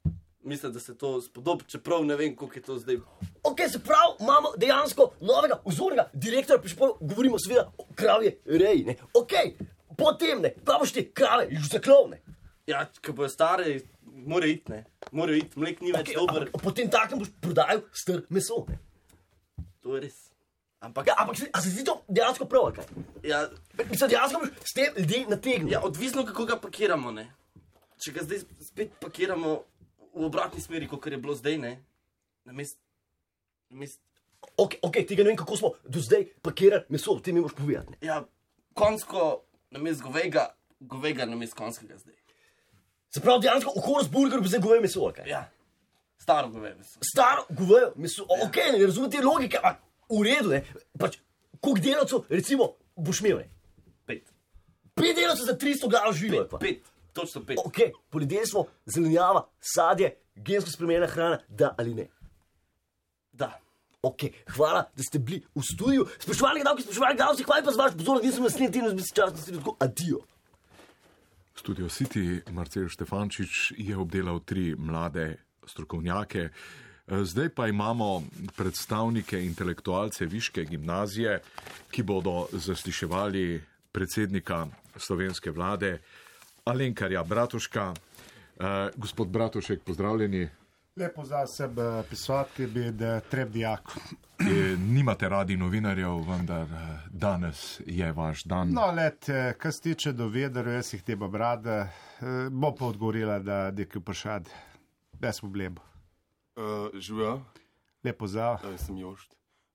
Mislim, da se to spodobi, čeprav ne vem, koliko je to zdaj. Ok, se pravi, imamo dejansko novega, vzornega direktorja, prišpor, govorimo seveda o kravje reji. Ne? Ok, potem ne, pa boš ti krave, že zaklovne. Ja, ki bojo stare, mora iti, ne. Mora iti, mlek ni več dober. Potem takem boš prodajal str meso. Ne? To je res. Ampak, ja, ampak se, a se zdi to dejansko prav, ali kaj? Ja, mislim, dejansko boš s tem ljudi nategnil. Ja, odvisno kako ga pakiramo, ne. Če ga zdaj spet pakiramo v obratni smeri, kot je bilo zdaj, ne. Namest, namest, Ok, okay tega ne vem, kako smo do zdaj pakirali meso, ti mi boš povedal. ne. ja, konsko, namest govega, govega namest konskega zdaj. Se pravi, ja. dejansko v Horsburgeru bi zdaj goveje meso, ali kaj? Ja, staro goveje meso. Staro goveje meso, ja. ok, ne razumem te logike, ampak v redu je. Pač, koliko delavcev, recimo, boš imel? Ne? Pet. Pet delavcev za 300 glav živijo. Pet, pet, točno pet. Ok, poljedelstvo, zelenjava, sadje, gensko spremenjena hrana, da ali ne. Da. Ok, hvala, da ste bili v studiu. Spoštovani gledalci, spoštovani gledalci, hvala pa za vaš pozornost, nisem naslednji teden, bi se čas naslednji tako, adijo. Studio City, Marcel Štefančič je obdelal tri mlade strokovnjake. Eh, Zdaj pa imamo predstavnike intelektualce Viške gimnazije, ki bodo zasliševali predsednika slovenske vlade Alenkarja Bratuška. Eh, Gospod Bratušek, pozdravljeni. Lepo za sebe pisati, bi da treb dijak. Eh, Nimate radi novinarjev, vendar eh, danes je vaš dan. No, let, eh, kar se tiče do vedra, jaz jih teba brada, eh, bo pa odgovorila, da je kaj vprašati. Brez problema. Uh, Živijo. Lepo za. Uh, sem Jošt.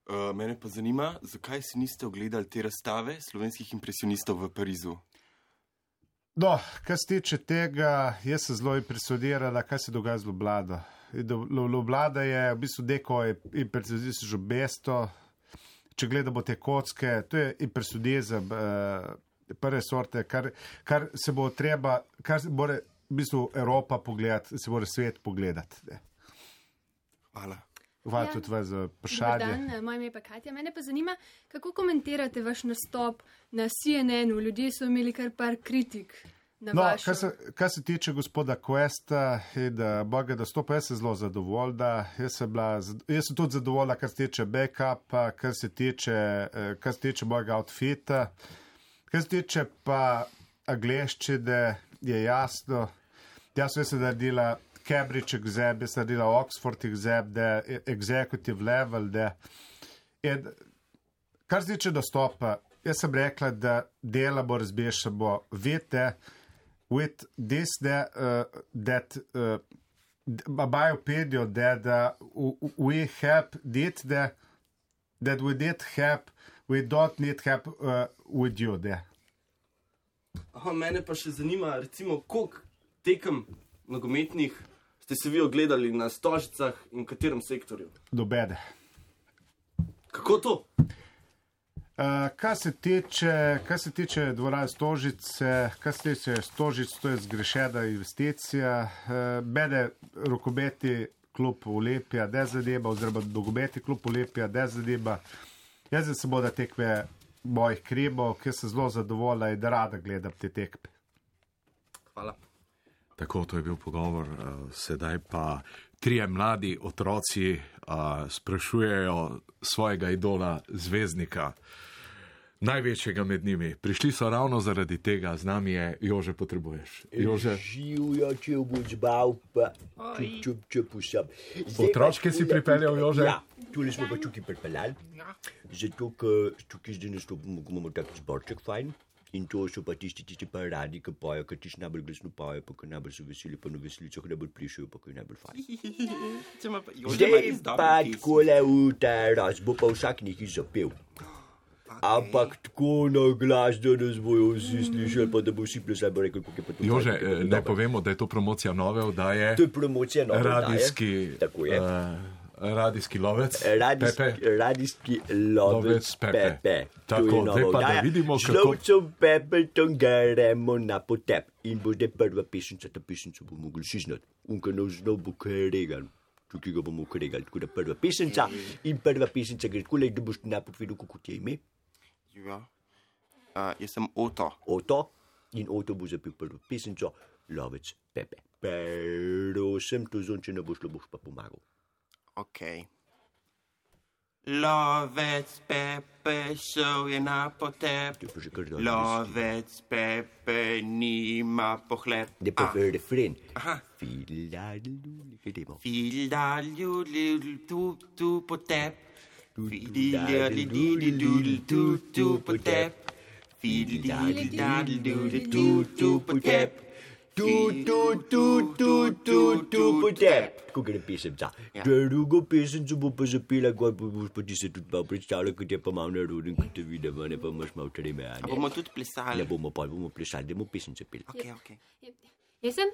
Uh, mene pa zanima, zakaj si niste ogledali te razstave slovenskih impresionistov v Parizu? No, kar se tiče tega, jaz sem zelo impresionirala, kaj se dogaja z Ljubljano. In do- Lu- Ljubljana je v bistvu neko impresionizem že besto. Če gledamo te kocke, to je impresionizem eh, prve sorte, kar, kar se bo treba, kar se mora v bistvu Evropa pogledati, se mora svet pogledati. ne. Hvala. Hvala Ja. tudi vas za Dobar vprašanje. Dan, eh, moje ime je pa Katja. Mene pa zanima, kako komentirate vaš nastop na CNN-u? Ljudje so imeli kar par kritik na No, vaš. kar se, kar se tiče gospoda Questa in eh, Boga dostopa, jaz sem zelo zadovoljna. Jaz sem, bila, zad- jaz sem tudi zadovoljna, kar se tiče backupa, kar se tiče, eh, kar se tiče mojega outfita. Kar se tiče pa angleščine, je jasno. Jasno, jaz sem naredila Cambridge exam, jaz sem naredila Oxford exam, da je executive level, da je. Kar se tiče dostopa, jaz sem rekla, da delamo, razbešamo, veste, with this, that, uh, that uh, my opinion, that uh, w- we help did the, that we did help, we don't need help uh, with you. Da. Aha, mene pa še zanima, recimo, koliko tekem nogometnih ste se vi ogledali na stožicah in v katerem sektorju. Dobede. Kako to? Uh, kar se tiče, kar se tiče dvorane Stožice, kar se tiče Stožic, to je zgrešena investicija. Uh, mene rokometi klub Olepija, ne zadeva, oziroma dogometi klub Olepija, ne zadeva. Jaz sem samo da tekme mojih kribov, ki sem zelo zadovoljna in da rada gledam te tekme. Hvala. Tako, to je bil pogovor, eh, sedaj pa trije mladi otroci eh, sprašujejo svojega idola, zvezdnika, največjega med njimi. Prišli so ravno zaradi tega, z nami je Jože Potrebuješ. Jože, Živijo, če boš bal, pa čup, čup, čup, usam. Otročke si pripeljal, Jože? Ja, tule smo pa čuki pripeljali. Zato, ker tukaj zdaj nastopimo, ko imamo tak zborček fajn. In to so pa tisti, ki ti pa radi, ki pojejo, ki ti najbolj glasno pojejo, pa ki najbolj so veseli, pa na veselicah najbolj plišajo, pa ki je najbolj fajn. Če ima pa Zdaj pa takole v ta raz, bo pa vsak nekaj zapel. Ampak tako na glas, da nas bojo vsi slišali, pa da bo vsi plesali, bo rekel, kako je pa to. fajn, Jože, kako je eh, to naj dobro. povemo, da je to promocija nove oddaje. To je promocija nove oddaje. radijski, Tako je. eh, radijski lovec. Radijski- Pepe. Radijski lovec, Lovec Pepe. Pepe. To Tako, je nova zdaj pa da oddaja. vidimo, Z kako- lovcem Pepetom gremo na potep in bo zdaj prva pesnica, ta pesnica bo mogla vsi znati. Unka nov znov bo kregan. Tukaj ga bomo kregali, tako da prva pesnica in prva pesnica gre tako, da boš najprej videl, kako ti je ime. Ja. Uh, jaz sem Oto. Oto in Oto bo zapil prvo pesnico, lovec Pepe. Prosim, to zunče ne boš, boš pa pomagal. Okay. Lovec Pepe šel je na potep. Lovec Pepe nima pohlep. Ne pa v refren. Aha. Fila, luli, gremo. Fila ljudil tu tu potep. Fila ljudil Fila, tu tu potep. Fila ljudil tu tu potep. Tu, tu, tu, tu, tu, tu, potep. Tako gre pesemca. Ja. Drugo pesemco bo pa zapela, gor bo boš pa ti se tudi malo predstavljal, kot je pa malo naroden, kot te vidim, a ne pa imaš malo treme. A ne? bomo tudi plesali? Ne bomo pa, bomo plesali, da bomo pesemce peli. Okay, okay. Jaz sem,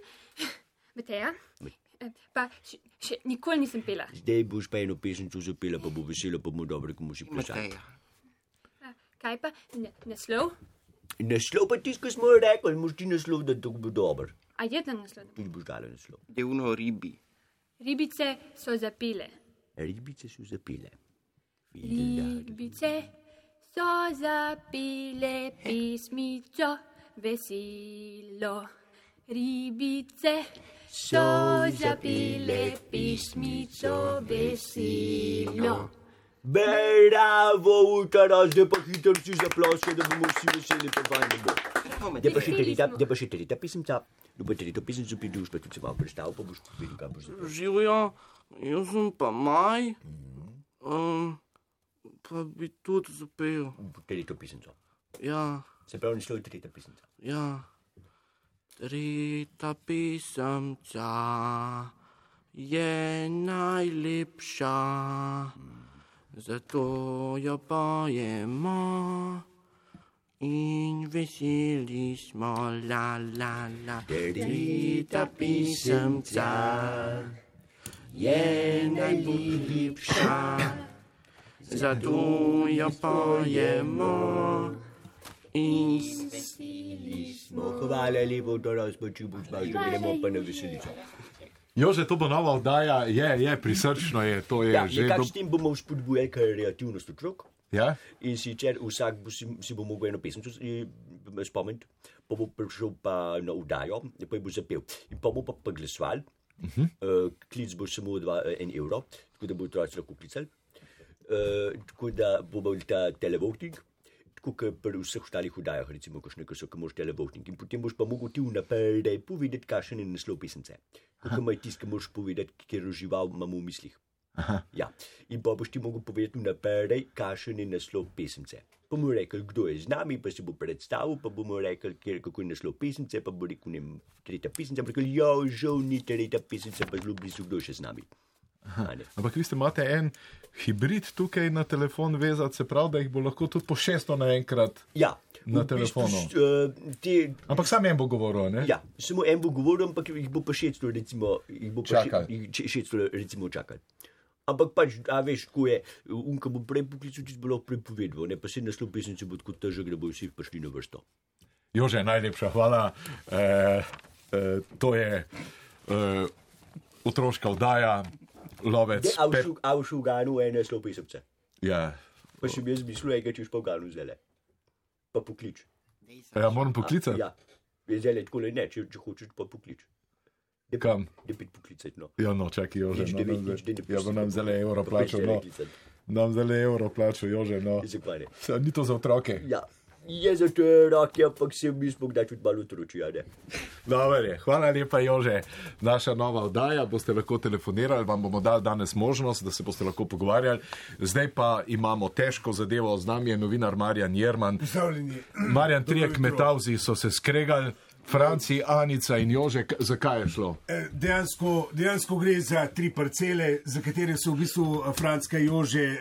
Mateja, Eh, Me- pa še, še nikoli nisem pela. Zdaj boš pa eno pesemco zapela, pa bo veselo, pa bo dobro, ko boš si plesal. Eh, Kaj pa n- naslov? Naslov pa tisto, ko smo rekli, moš ti naslov, da to bo dober. A jedan naslov. Tudi boš dala naslov. Devno ribi. Ribice so zapile. Ribice so zapile. Ribice so zapile pismico veselo. Ribice so zapile pismico veselo. Bravo, utara, zdaj pa hitro si zaploskal, da bomo vsi veseli, pa fajn da bo. Da pa še tretja, da pa še tretja pisemca. No, Da pa tretjo pisemco pridruž, pa tudi se vam predstavil, pa boš videl, kam boš zapisal. Živijo, jaz sem pa maj, um, pa bi tudi zapel. Tretjo pisemco. Ja, Se pravi, naslov je tretja pisemca. ja. Trita pisemca je najlepša, zato jo pojemo in veseli smo, la la la. Trita pisemca je najljubša, zato jo pojemo in Smo hvala lepo, utara, spoči boš malo, da gremo pa na veselico. Jože, to bo nova oddaja, je, je prisrčno, je, to je Ja, E, že. nekako do- s tem bomo spodbujali kreativnost otrok. Ja? In sicer vsak bo si, si bo mogel eno pesem spomniti, pa bo prišel pa na udajo, pa jo bo zapel. In pa bo pa, pa glasoval, uh Mhm. -huh. uh, klic bo samo dva, eh, en evro, tako da bo otroci lahko klicali. Uh, tako da bo bil ta televoting. Tako kot pri vseh ostalih oddajah, recimo, kakšne, ki so, ki moš televoting. In potem boš pa mogel ti vnaprej povedati, kakšen je naslov pisemce. Kako ima tisto, ki moš povedati, kjer užival imamo v mislih. Ja. In pa boš ti mogel povedati naprej, kakšen je naslov pesemce. Pa mu rekel, kdo je z nami, pa se bo predstavil, pa bomo rekel, kjer, kako je naslov pesemce, pa bo rekel, ne, vem, tretja pesemca, pa rekel, jo, žal ni tretja pesemca, pa zelo blizu, kdo je še z nami. A ne. Ampak vi ste imate en hibrid tukaj na telefon vezati, se pravi, da jih bo lahko tudi po 600 naenkrat ja, na v bistvu telefonu. s- eh, te, Ampak sam en bo govoril, ne? ja, samo en bo govoril, ampak jih bo pa 600, recimo, jih bo pa še- Čakal. jih če- 600, recimo, čakali. Ampak pač, a veš, ko je, unka bo prej poklical, ti bo lahko prepovedal, ne pa se naslov pesemce bo tako težek, da bodo vsi prišli na vrsto. Jože, najlepša hvala. E, e, to je e, otroška oddaja, lovec. Ja, Pep- A v Šuganu je ena sto pisemce. Ja. Pa si bi jaz mislil, da češ pa v Ganu zdaj. Pa poklič. Ja, moram poklicati? A, ja, zdaj le tako le ne, če, če hočeš pa poklič. Kam? Debit poklicati, no. Ja, no, čakaj, Jože. Nič No, devet, nam nič zdaj- devet, ja, bo nam nič zelo devet. evro Pa plačal. pet No. devet klicati. Nam zelo evro plačal, Jože. No. Zakaj ne? Ni to za otroke. Ja. je za te roke, ampak se mi smo kdaj tudi malo truči, a ne. Dobar je. Hvala lepa, Jože. Naša nova oddaja boste lahko telefonirali, vam bomo dali danes možnost, da se boste lahko pogovarjali. Zdaj pa imamo težko zadevo, z nami je novinar Marjan Jerman. Pozdravljeni. Marjan, Dobro trije jutro. kmetavzi so se skregali, Franci, Anica in Jožek, zakaj je šlo? Eh, Dejansko, dejansko gre za tri parcele, za katere so v bistvu eh, Franska, Jože, eh,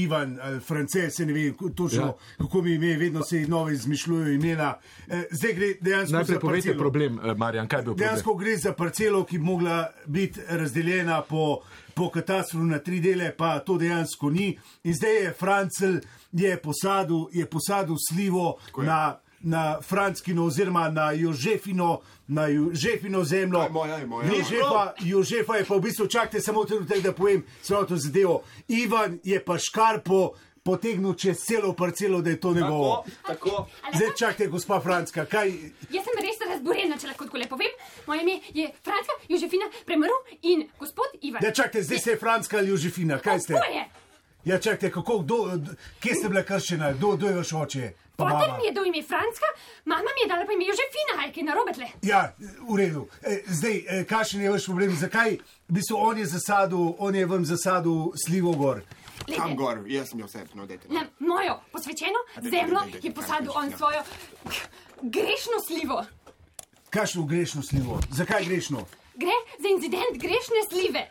Ivan, eh, France, se ne ve ko- točno, Ja. ja. kako bi ime, vedno se jih nove izmišljujejo imena. Eh, Zdaj gre dejansko Najprej za povejte parcelo. problem, eh, Marjan, kaj je bil problem? Dejansko gre za parcelo, ki bi mogla biti razdeljena po, po katastru na tri dele, pa to dejansko ni. In zdaj je Francel je posadil, je posadil slivo je. na. Na Frankino, oziroma na Jožefino, na Jožefino zemljo. Je moja, je moja. Ni Ja. že pa Jožefa, je pa v bistvu čakajte samo trenutek, da povem celotno zadevo. Ivan je pa škarpo potegnil čez celo parcelo, da je to njegovo. Tako. Zdaj čakajte, gospa Franska, kaj Jaz sem res razborjena, če lahko tako lepo povem. Moje ime je Franska Jožefina Premrl in gospod Ivan. Ja, čakajte, zdaj se je Franska ali Jožefina, kaj ste? Oboje. Ja, čakajte, kako, kdo, d- kje ste bila kršena, kdo, kdo je vaš oče? Pa Potem mama. mi je dal ime Franska, mama mi je dala pa ime Jožefina, ali kaj narobe tle. Ja, v redu. E, Zdaj, e, kakšen je vaš problem? Zakaj? V bistvu on je zasadil, on je vam zasadil slivo gor. Glejte. Kam gor, jaz mi osebno, no, dajte. Na mojo posvečeno daj, zemljo daj, daj, daj, je kaj posadil greš, on ja. svojo grešno slivo. Kakšno grešno slivo? Zakaj grešno? Gre za incident grešne slive.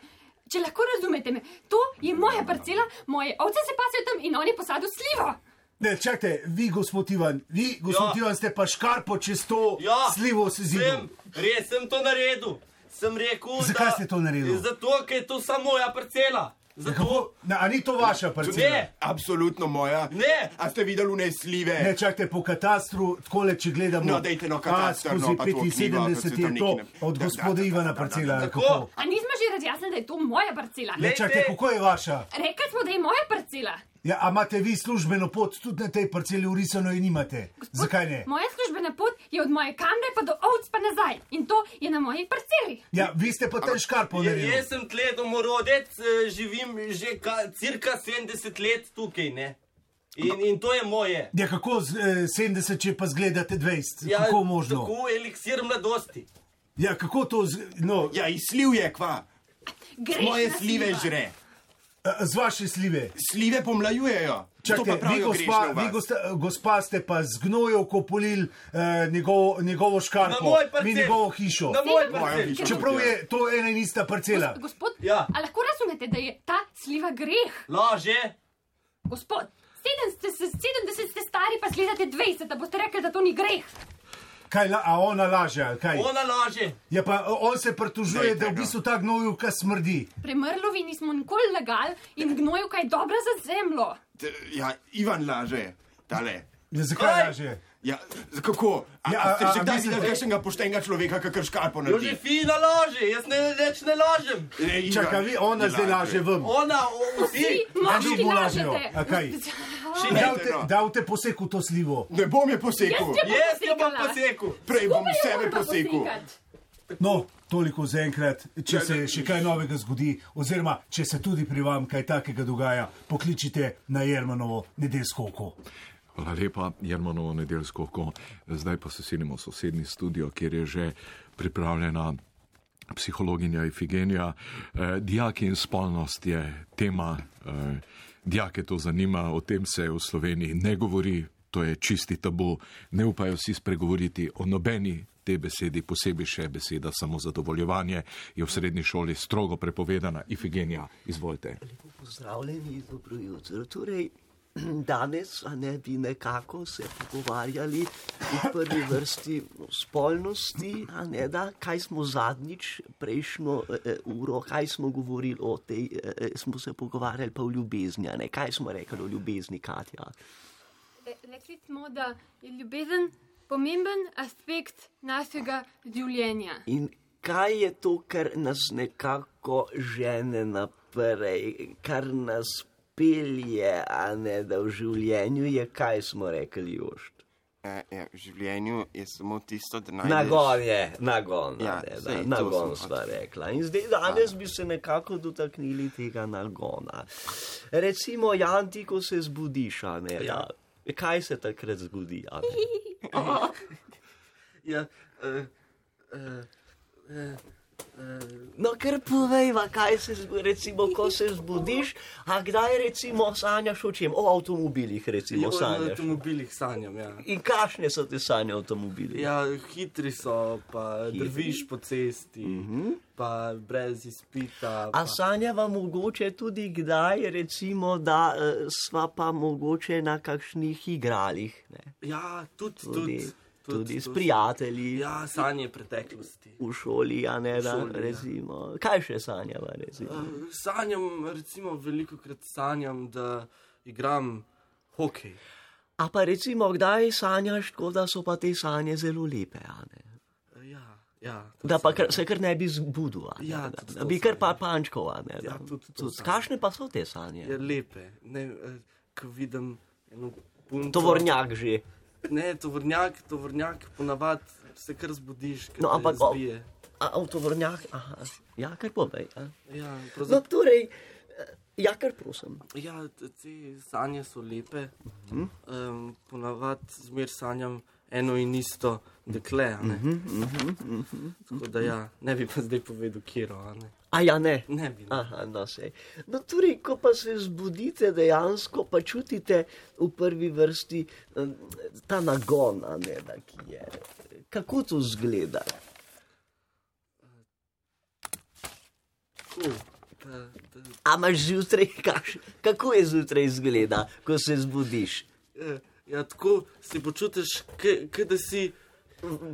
Če lahko razumete me, to je moja parcela, moje ovce se pasejo tam in on je posadil slivo. Ne, čakajte, vi, gospod Ivan, vi, gospod Ja. ja. Ivan, ste pa škarpo čez to ja. slivo se zidom. Res sem to naredil. Sem rekel, Zakaj da, ste to naredili? Zato, ker je to samo moja parcela. Zato, Na, a ni to vaša parcela? Ne. absolutno moja. Ne. A ste videli v nesljive? Ne, čakajte po katastru, takole če gledamo. No, dejte, no, kataster, A, no, skozi pa to knjigo, pa se 75 tam je to nekaj od gospoda Ivana parcela. ali kako? A nismo že razjasnili, da je to moja parcela. Ne, čakajte, kako je vaša? Rekli smo, da je moja parcela. Ja, a imate vi službeno pot tudi na tej parceli urisano in nimate? Zakaj ne? Moja službena pot je od moje kamre pa do ovc pa nazaj in to je na moji parceli. Ja, vi ste pa tam škarpo Je- naredili. Jaz sem tle domorodec, eh, živim že ka, cirka 70 let tukaj. Ne? In, in to je moje. Ja, kako z, eh, 70, če pa zgledate 20? Ja, kako možno? Tako eliksir mladosti. Ja, kako to? Z, no. Ja, izliv je kva. Grešna Moje slive sliva. žre. E, Z vaše slive. Slive pomlajujejo. Čakajte, to pa vi, pravijo gospa, grešno v vi vas. gosta, gospa, ste pa z gnojev kopulil eh, njegovo, njegovo Na škarpo moj parcel. in njegovo hišo. Na moj parcel. Čeprav je to ena in ista parcela. Gospod, Ja. a lahko razumete, da je ta sliva greh? Laže. Gospod, 70, 70 ste stari, pa gledate 20, da boste rekli, da to ni greh. Kaj, la, a ona laže? ali Kaj? Ona laže. Ja, pa eh, on se pritožuje, da v bistvu ta gnojivka smrdi. Premrlovi nismo nikoli lagali in gnoju kaj dobra za zemljo. Ja, Ivan laže, tale. Ja, zakaj laže? Ja, kako? A, Ja, ja, a- a, ste a- že a kdaj mislite- videli kakšnega poštenega Ja, človeka, kakor škarpo naredi? Jožefina laže, jaz ne rečem, ne lažem. E, Čakaj, vi ona zdaj laže vam. Ona, o, vsi, Vsi lažejo. A kaj? Še Dal te, ne, no. dal te poseku to slivo. Ne bom je posekal. Jaz jo bom Jaz jo bom posekala. posekal. Prej bom Skupaj jo sebe morava posekal. No, toliko za enkrat. Ja, Če se še kaj novega zgodi, oziroma če se tudi pri vam kaj takega dogaja, pokličite na Jermanovo nedeljsko oko. Hvala lepa, Jarmanovo nedeljsko oko. Zdaj pa se selimo v sosednji studio, kjer je že pripravljena psihologinja Ifigenija. Eh, dijaki in spolnost je tema, eh, dijake to zanima, o tem se v Sloveniji ne govori, to je čisti tabu, ne upajo si spregovoriti o nobeni te besedi, posebej še beseda samozadovoljevanje, je v srednji šoli strogo prepovedana. Ifigenija, izvolite. Pozdravljeni, dobro jutro. Torej, danes a ne bi nekako se pogovarjali v prvi vrsti o spolnosti, a ne da, kaj smo zadnjič, prejšnjo eh, uro, kaj smo govorili o tej, eh, eh, smo se pogovarjali pa o ljubezni, a ne kaj smo rekli o ljubezni, Katja. Re- Rekli smo, da Eh, je ljubezen pomemben aspekt našega življenja. In kaj je to, kar nas nekako žene naprej, kar nas pelje, a ne da v življenju je, kaj smo rekli, Jož. Ja, ja, v življenju je samo tisto, da najdeš. Nagon je, nagon, Ja, ja, ne, saj da, to nagon sem- pač- sva rekla. In zdaj danes bi se nekako dotaknili tega nagona. Recimo, Jan, ti, ko se zbudiš, a ne, ja. Kaj se takrat zgodi? a ne? Ja, eh, uh, No, ker povejva, kaj se zgodi, recimo, ko se zbudiš, a kdaj recimo sanjaš o čem? O avtomobilih, recimo, Ja, O sanjaš. avtomobilih sanjam. Ja. In kakšne so te sanje o avtomobilih? Ja, hitri so, pa Hitri. Mhm. drviš po cesti, uh -huh. pa brez izpita. Pa. A sanjava mogoče tudi kdaj, recimo, da eh, sva pa mogoče na kakšnih igralih. Ne? Ja, tudi, Tudi- tudi, tudi, tudi s prijatelji. Ja, sanje preteklosti. V šoli, a ne V da, šoli, ja. recimo. Kaj še sanjava, recimo? Eh, Sanjam, recimo, veliko krat sanjam, da igram hokej. A pa recimo, kdaj sanjaš, tako da so pa te sanje zelo lepe, a ne? Ja, ja. Da pa kar, se kar ne bi zbudil. a Ne, Ja, da, tudi da to bi kar pa pančkova. Ja, tudi to sanjam. Kakšne pa so te sanje? Je lepe. Ne, eh, ko vidim eno punco. Tovornjak že. Ne, tovornjak, tovornjak, ponavadi se kar zbudiš, ker No, te ampak o- zbije. A, a v tovornjak, aha. Ja, kar povej. a? Ja, No, pravzaprav. torej, eh, ja, kar prosim. Ja, t- te sanje so lepe. Mhm. Mm -hmm. um, ponavadi zmer sanjam eno in isto dekle. a ne. Mhm, mhm, mhm. Tako da ja, ne bi pa zdaj povedal, kje je. A ja, ne. Ne bi. Aha, no, sej. No, torej, ko pa se zbudite, dejansko pa čutite v prvi vrsti eh, ta nagon, a ne, da, ki je. Kako to zgleda? Hmm. A imaš zjutraj, kaš, kako je zjutraj izgleda, ko se zbudiš? Ja, tako se počutiš, kot da si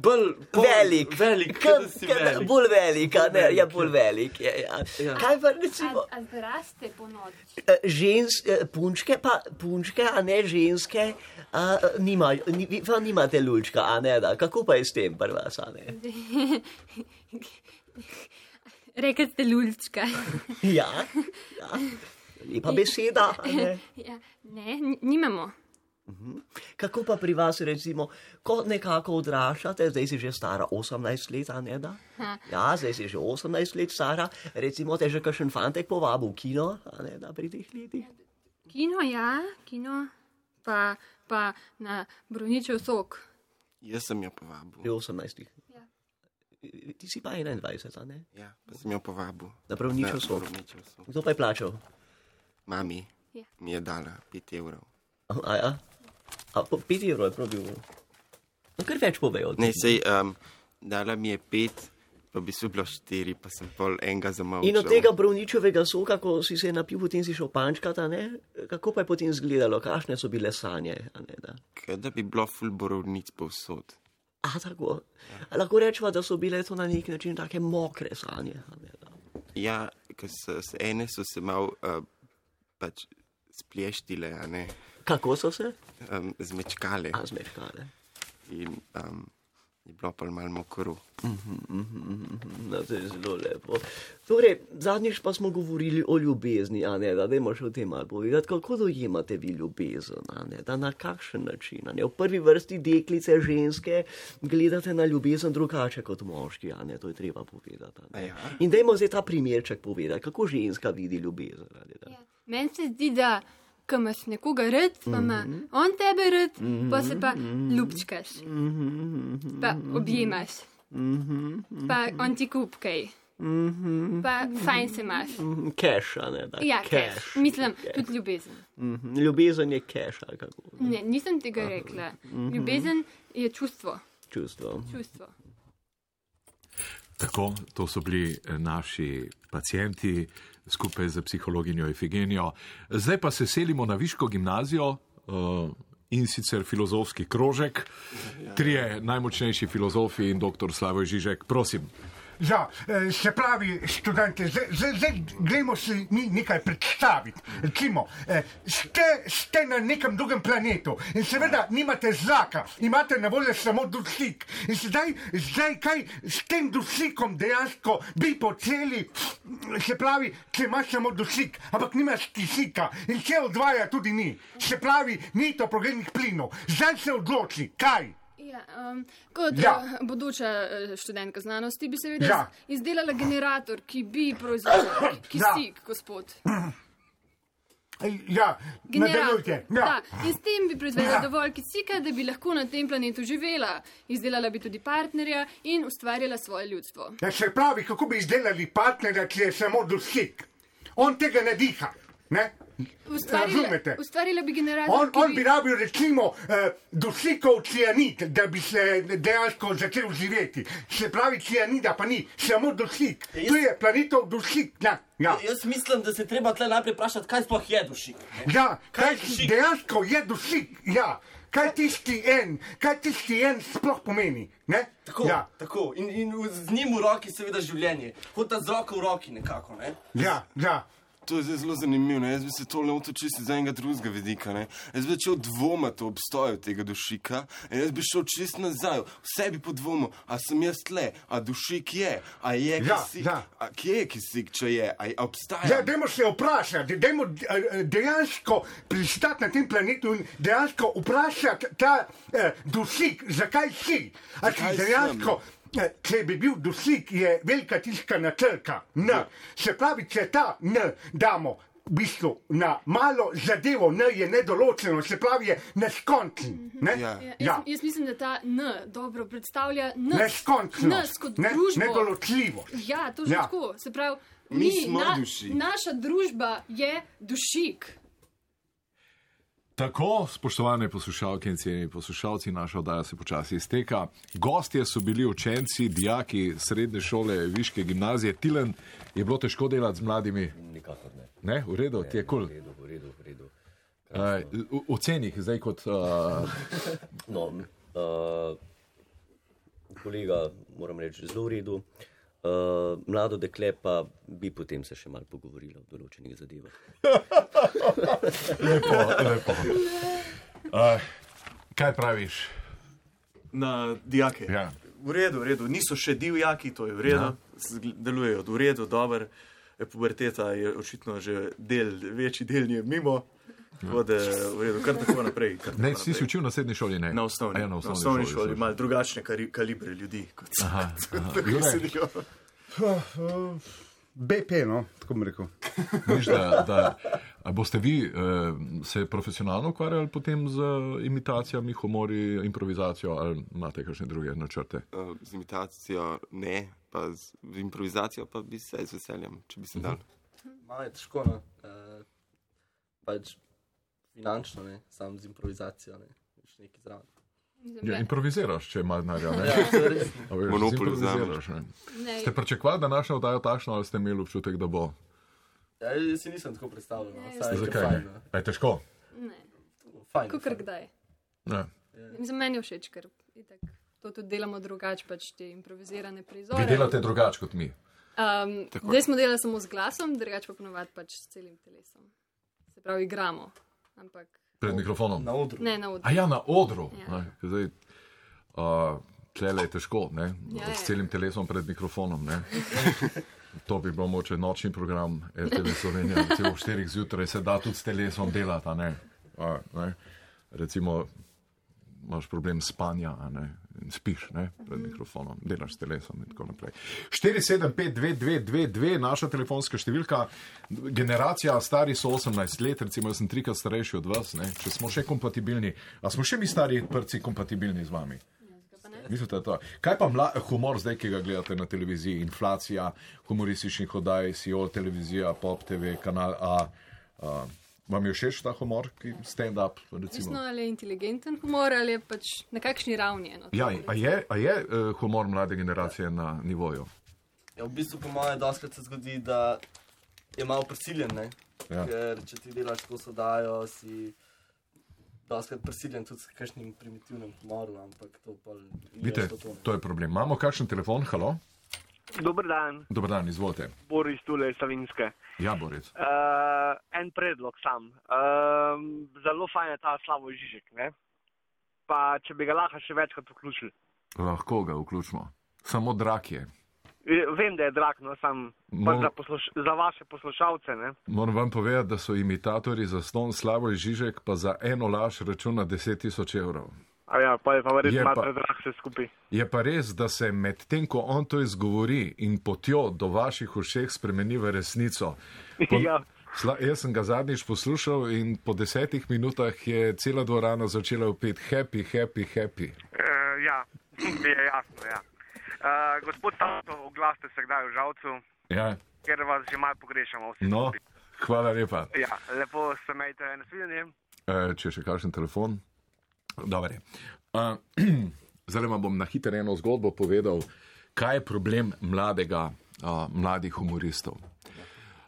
bolj pol- Velik, velik Ke- kot da si ke- velik. bolj velik, a ne, ja, Velik, bolj ja. velik. Ja, ja. Ja. Kaj pa recimo? A, a zraste po noči. Eh, Žensk, eh, punčke, pa punčke, a ne ženske, a, nimajo, ni, vi pa nimate lučka, a ne da. Kako pa je s tem, prva, a ne? Rekli ste lulčka. Ja, ja. lepa beseda. a Ne? ja, ne, n- nimamo. Mhm. Kako pa pri vas, recimo, ko nekako odraščate, zdaj si že stara 18 let, a ne da? Ha. Ja, zdaj si že 18 let stara, recimo te že kakšen fantek povabi v kino, a ne da pri teh letih. Kino, ja, kino, pa, pa na bruničev sok. Jaz sem jo povabil. Pri 18. Ja. Ti si pa 21, a ne? Ja, pa sem jo povabil. Naprav nič Na osvoj. Pravničev sok. Kdo pa je plačal? Mami Ja. mi je dala 5 evrov. A, ja? a po 5 evrov je probil. No, kar več povejo. Ne, sej, um, dala mi je 5, pa bi bilo 4, pa sem pol enega zamavil. In od tega browničevega soka, ko si se napil, potem si šel pančkat, a ne? kako pa je potem izgledalo, kakšne so bile sanje. a ne, da? Da bi bilo ful borovnic povsod. A tako. A Lahko rečemo, da so bile to na nek način take mokre sanje. a ne, da. Ja, ker so se ene so se mal uh, pač splještile, a ne. Kako so se? Um, zmečkale. A zmečkale. In um, je bilo pol malo mokro. Mhm. No, to je zelo lepo. Torej, zadnjič pa smo govorili o ljubezni, a ne da, dajmo še o tem malo povedati, kako dojemate vi ljubezen, a ne da, na kakšen način. a Ne? V prvi vrsti deklice, ženske, gledate na ljubezen drugače kot moški, a ne, to je treba povedati. a ne. In dajmo zdaj ta primerček povedati, kako ženska vidi ljubezen. a ne, da. Meni se zdi, da ko imaš nekoga rad, pa ima Mhm. on tebe rad, pa se pa Mhm. ljubčkaš, Mhm, pa mhm, objemaš, mhm, mhm. pa on ti kupkaj, Mhm. pa fajn se imaš. Mhm, Cash, a ne da. Ja, cash. keš. Mislim, Cash. tudi ljubezen. Mhm, Ljubezen je cash, ali kako Ne, nisem tega rekla. Mhm. Ljubezen je čustvo. čustvo. čustvo. Tako, to so bili eh, naši pacijenti skupaj z psihologinjo Efigenijo. Zdaj pa se selimo na Viško gimnazijo eh, in sicer filozofski krožek. Trije najmočnejši filozofi in dr. Slavoj Žižek, prosim. Ja, eh, se pravi, študente, zdaj- zdaj zdaj gremo si mi nekaj predstaviti. Recimo, eh, ste, ste na nekem drugem planetu in seveda nimate zraka, imate na voljo samo dušik. In zdaj, zdaj kaj s tem dušikom dejansko bi počeli, se pravi, če imaš samo dušik, ampak nimaš kisika in CO2 ja tudi ni. Se pravi, ni to progrednih plinov. Zdaj se odloči, kaj. Ja, um, kot Ja. ja. bodoča eh, študentka znanosti bi seveda Ja. ja. izdelala generator, ki bi proizvedel kisik, ja. gospod. Ja, nadaljujte. Generator. Ja. Da, in s tem bi proizvedla dovolj kisika, da bi lahko na tem planetu živela. Izdelala bi tudi partnerja in ustvarjala svoje ljudstvo. Ja, se pravi, kako bi izdelali partnerja, ki je samo dušik. On tega ne diha. Ne? Razumete? ustvarila bi generator. On, ki on bi rabil recimo eh, dušikov cianid, da bi se dejansko začel živeti. Se pravi, cianida pa ni, samo dušik. To je planetov dušik. Ja, ja. Ja, Jaz mislim, da se je treba tle najprej vprašati, kaj sploh je dušik. Ja, kaj si dejansko je dušik? Ja. Kaj tisti en, kaj tisti en sploh pomeni? Ne? Tako, ja. tako. In, in v- z njim v roki, seveda, življenje. Hodita z roko v roki nekako. Ne? Ja, ja. To je zdaj zelo zanimivo. Ne? Jaz bi se to lotil čisto iz enega drugega vidika. Ne? Jaz bi začel dvomiti o obstoju tega dušika in jaz bi šel čisto nazaj. Vse bi podvomil, a sem jaz tle, a dušik je, a je Ja, kisik. ja. A kje je kisik, če je, a, a obstaja? Ja, dajmo se vprašati, dajmo eh, eh, dejansko pristati na tem planetu in dejansko vprašati ta eh, dušik, zakaj si. A si Zakaj sem? dejansko, eh, če bi bil dušik, je velika tiskana črka. N. Ja. Se pravi, če ta N damo. V bistvu na malo zadevo, ne je nedoločeno, se pravi, je neskončen. Ne? Ja. Ja, jaz, jaz mislim, da ta N dobro predstavlja N. Neskončno, Nas kot ne, družbo. nedoločljivo. Ja, to je Ja. ja. tako. Se pravi, Mi mi, smo na, dušik. naša družba je dušik. Tako, spoštovane poslušalke in cenjeni poslušalci, naša oddaja se počasi izteka. Gostje so bili učenci, dijaki srednje šole, viške gimnazije. Tilen je bilo težko delati z mladimi. Nikakor ne. Ne, v redu, ti je kul. V redu, v redu, v redu. Cool. Oceni jih zdaj kot. Uh, No, uh, kolega, moram reči, zelo v redu. Uh, mlado dekle pa bi potem se še malo pogovorila o določenih zadevah. lepo, lepo. Uh, kaj praviš? Na dijake. Ja. V redu, v redu, niso še divjaki, to je v redu, Ja. Zgl- delujejo v redu, dobro. E, Puberteta je očitno že del, večji del nje mimo. Ja. Tako da v redu, kar tako naprej. Kar tako Ne, si si naprej. učil na srednji šoli? Ne? Na osnovni, A Ja, na osnovni, osnovni šoli. šoli, malo drugačne kari- kalibre ljudi kot Aha, aha. kot Jure? sedijo. Euh, BP, no, tako bi rekel. Veš, da, da, a boste vi eh, se profesionalno ukvarjali potem z eh, imitacijami, humori, improvizacijo ali imate kakšne druge načrte? Uh, Z imitacijo ne, pa z z improvizacijo pa bi se z veseljem, če bi Mhm. se dal. Malo je težko, no. uh, pač finančno, ne, sam z improvizacijo, ne, več neki zraven. Ja, improviziraš, če imaš denarja. ne? Ja, to je res. A veš, Monopol improviziraš, ne? Ne. Ste pričakovali, da naša oddaja takšna ali ste imeli občutek, da bo? Ja, jaz si nisem tako predstavljal. no, saj je Zakaj? fajn, ne? A Je težko. Ne, Fajn, kot kdaj. Ne. Mislim, meni je všeč, ker itak, to tudi delamo drugače, pač te improvizirane prizore. Vi delate drugače kot mi. Um, Tako. zdaj smo delali samo z glasom, drugače pa ponovadi pač s celim telesom. Se pravi, igramo. Ampak Pred mikrofonom. Na odru. Ne, na odru. A ja, na odru. Ja. Zdaj, uh, tlele je težko, ne? Ja, Ja, ja. s celim telesom pred mikrofonom. Ne? To bi bilo moče nočni program RTV Slovenije, recimo ob 4 zjutraj se da tudi s telesom delati. a ne. A, ne? Recimo, imaš problem spanja, a ne? in spiš ne? pred mikrofonom, delaš s telesom in tako naprej. 475-2222, naša telefonska številka, generacija stari so 18 let, recimo jaz sem trikrat starejši od vas, ne? če smo še kompatibilni, a smo še mi stari prci kompatibilni z vami? Mislite, da je to? Kaj pa mla, humor zdaj, ki ga gledate na televiziji? Inflacija, humorističnih oddaj, SEO, televizija, Pop TV, kanal A. a vam je všeč ta humor, ki stand-up? recimo? Odvisno ali je inteligenten humor ali je pač na kakšni ravni. je, No, Ja, a je, a je eh, humor mlade generacije na nivoju? Ja, v bistvu, po mojem, doskrat se zgodi, da je malo prisiljen. Ne? Ja. Ker če ti delaš tako sodajo, si doskrat prisiljen tudi s kakšnim primitivnim humorom, ampak to pa Vidite, to je problem. Imamo kakšen telefon, halo? Dober dan, Dobar dan, izvolite. Boris Tule iz Savinske. Ja, Boris. Uh, en predlog sam. Um, zelo fajn je ta Slavo Žižek. Ne? Pa če bi ga lahko še večkrat vključili. Lahko ga vključimo. Samo drak je. Eh, Vem, da je drag, no sam No. no. Za, posluš za vaše poslušalce. Ne? Moram vam povedati, da so imitatorji za ston Slavoj Žižek pa za eno laž računa 10 tisoč evrov. A ja, pa je pa Je verjetno pa- malo predrag vse skupaj. Je pa res, da se medtem, ko on to izgovori in potjo do vaših ušeh spremeni v resnico. Po, Ja. Sla, jaz sem ga zadnjič poslušal in po desetih minutah je cela dvorana začela upeti happy, happy, happy. E, Uh, ja, mi je jasno. Ja. Uh, gospod Stavko, oglaste se kdaj v žalcu, Ja. ker vas že malo pogrešamo. vsi No, skupaj. hvala lepa. Ja, lepo se majte nasvidenje. Eh, če še kakšen telefon. Dobar je. Uh, zdaj vam bom na hitro eno zgodbo povedal, kaj je problem mladega, uh, mladih humoristov.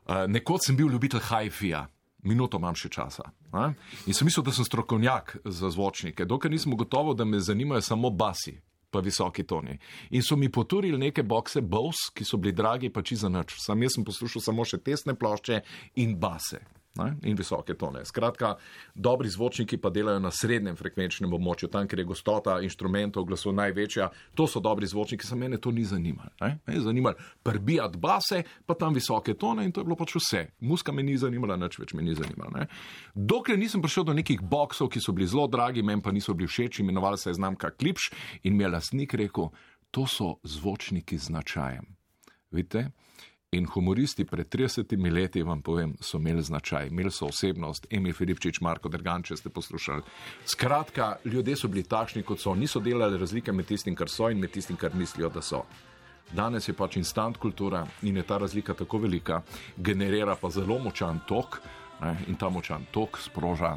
Uh, nekoč sem bil ljubitelj hajfija. Minuto imam še časa. A? In sem mislil, da sem strokovnjak za zvočnike, dokler nisem gotovo, da me zanimajo samo basi, pa visoki toni. In so mi poturili neke bokse Bows, ki so bili dragi, pa čisto nič. Sam jaz sem poslušal samo še tesne plošče in base. Ne? In visoke tone. Skratka, dobri zvočniki pa delajo na srednjem frekvenčnem območju, tam, kjer je gostota inštrumentov, glasov največja. To so dobri zvočniki, samo mene to ni zanimalo. Ne? Me je zanimalo prbijati base, pa tam visoke tone in to je bilo pač vse. Muska me ni zanimala, nič več me ni zanimala. Ne? Dokler nisem prišel do nekih boksov, ki so bili zelo dragi, meni pa niso bili všeč, imenovala se je znamka Klipš in mi je lastnik rekel, to so zvočniki z značajem. Vidite? In humoristi pred 30 leti, vam povem, so imeli značaj, imeli so osebnost, Emil Filipčič, Marko Drgan, če ste poslušali. Skratka, ljudje so bili takšni, kot so, niso delali razlike med tistim, kar so in med tistim, kar mislijo, da so. Danes je pač instant kultura in je ta razlika tako velika, generira pa zelo močan tok ne, in ta močan tok sproža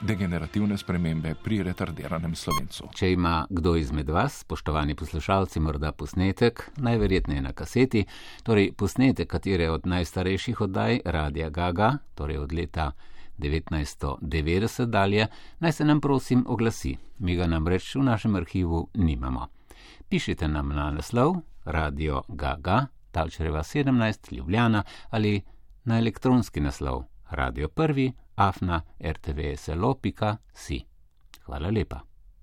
degenerativne spremembe pri retardiranem slovencu. Če ima kdo izmed vas, spoštovani poslušalci, morda posnetek, najverjetneje na kaseti, torej posnetek katere od najstarejših oddaj Radia Gaga, torej od leta 1990 dalje, naj se nam prosim oglasi. Mi ga namreč v našem arhivu nimamo. Pišite nam na naslov Radio Gaga, Talčereva 17, Ljubljana ali na elektronski naslov radio 1, afna rtvslo.si. Hvala lepa.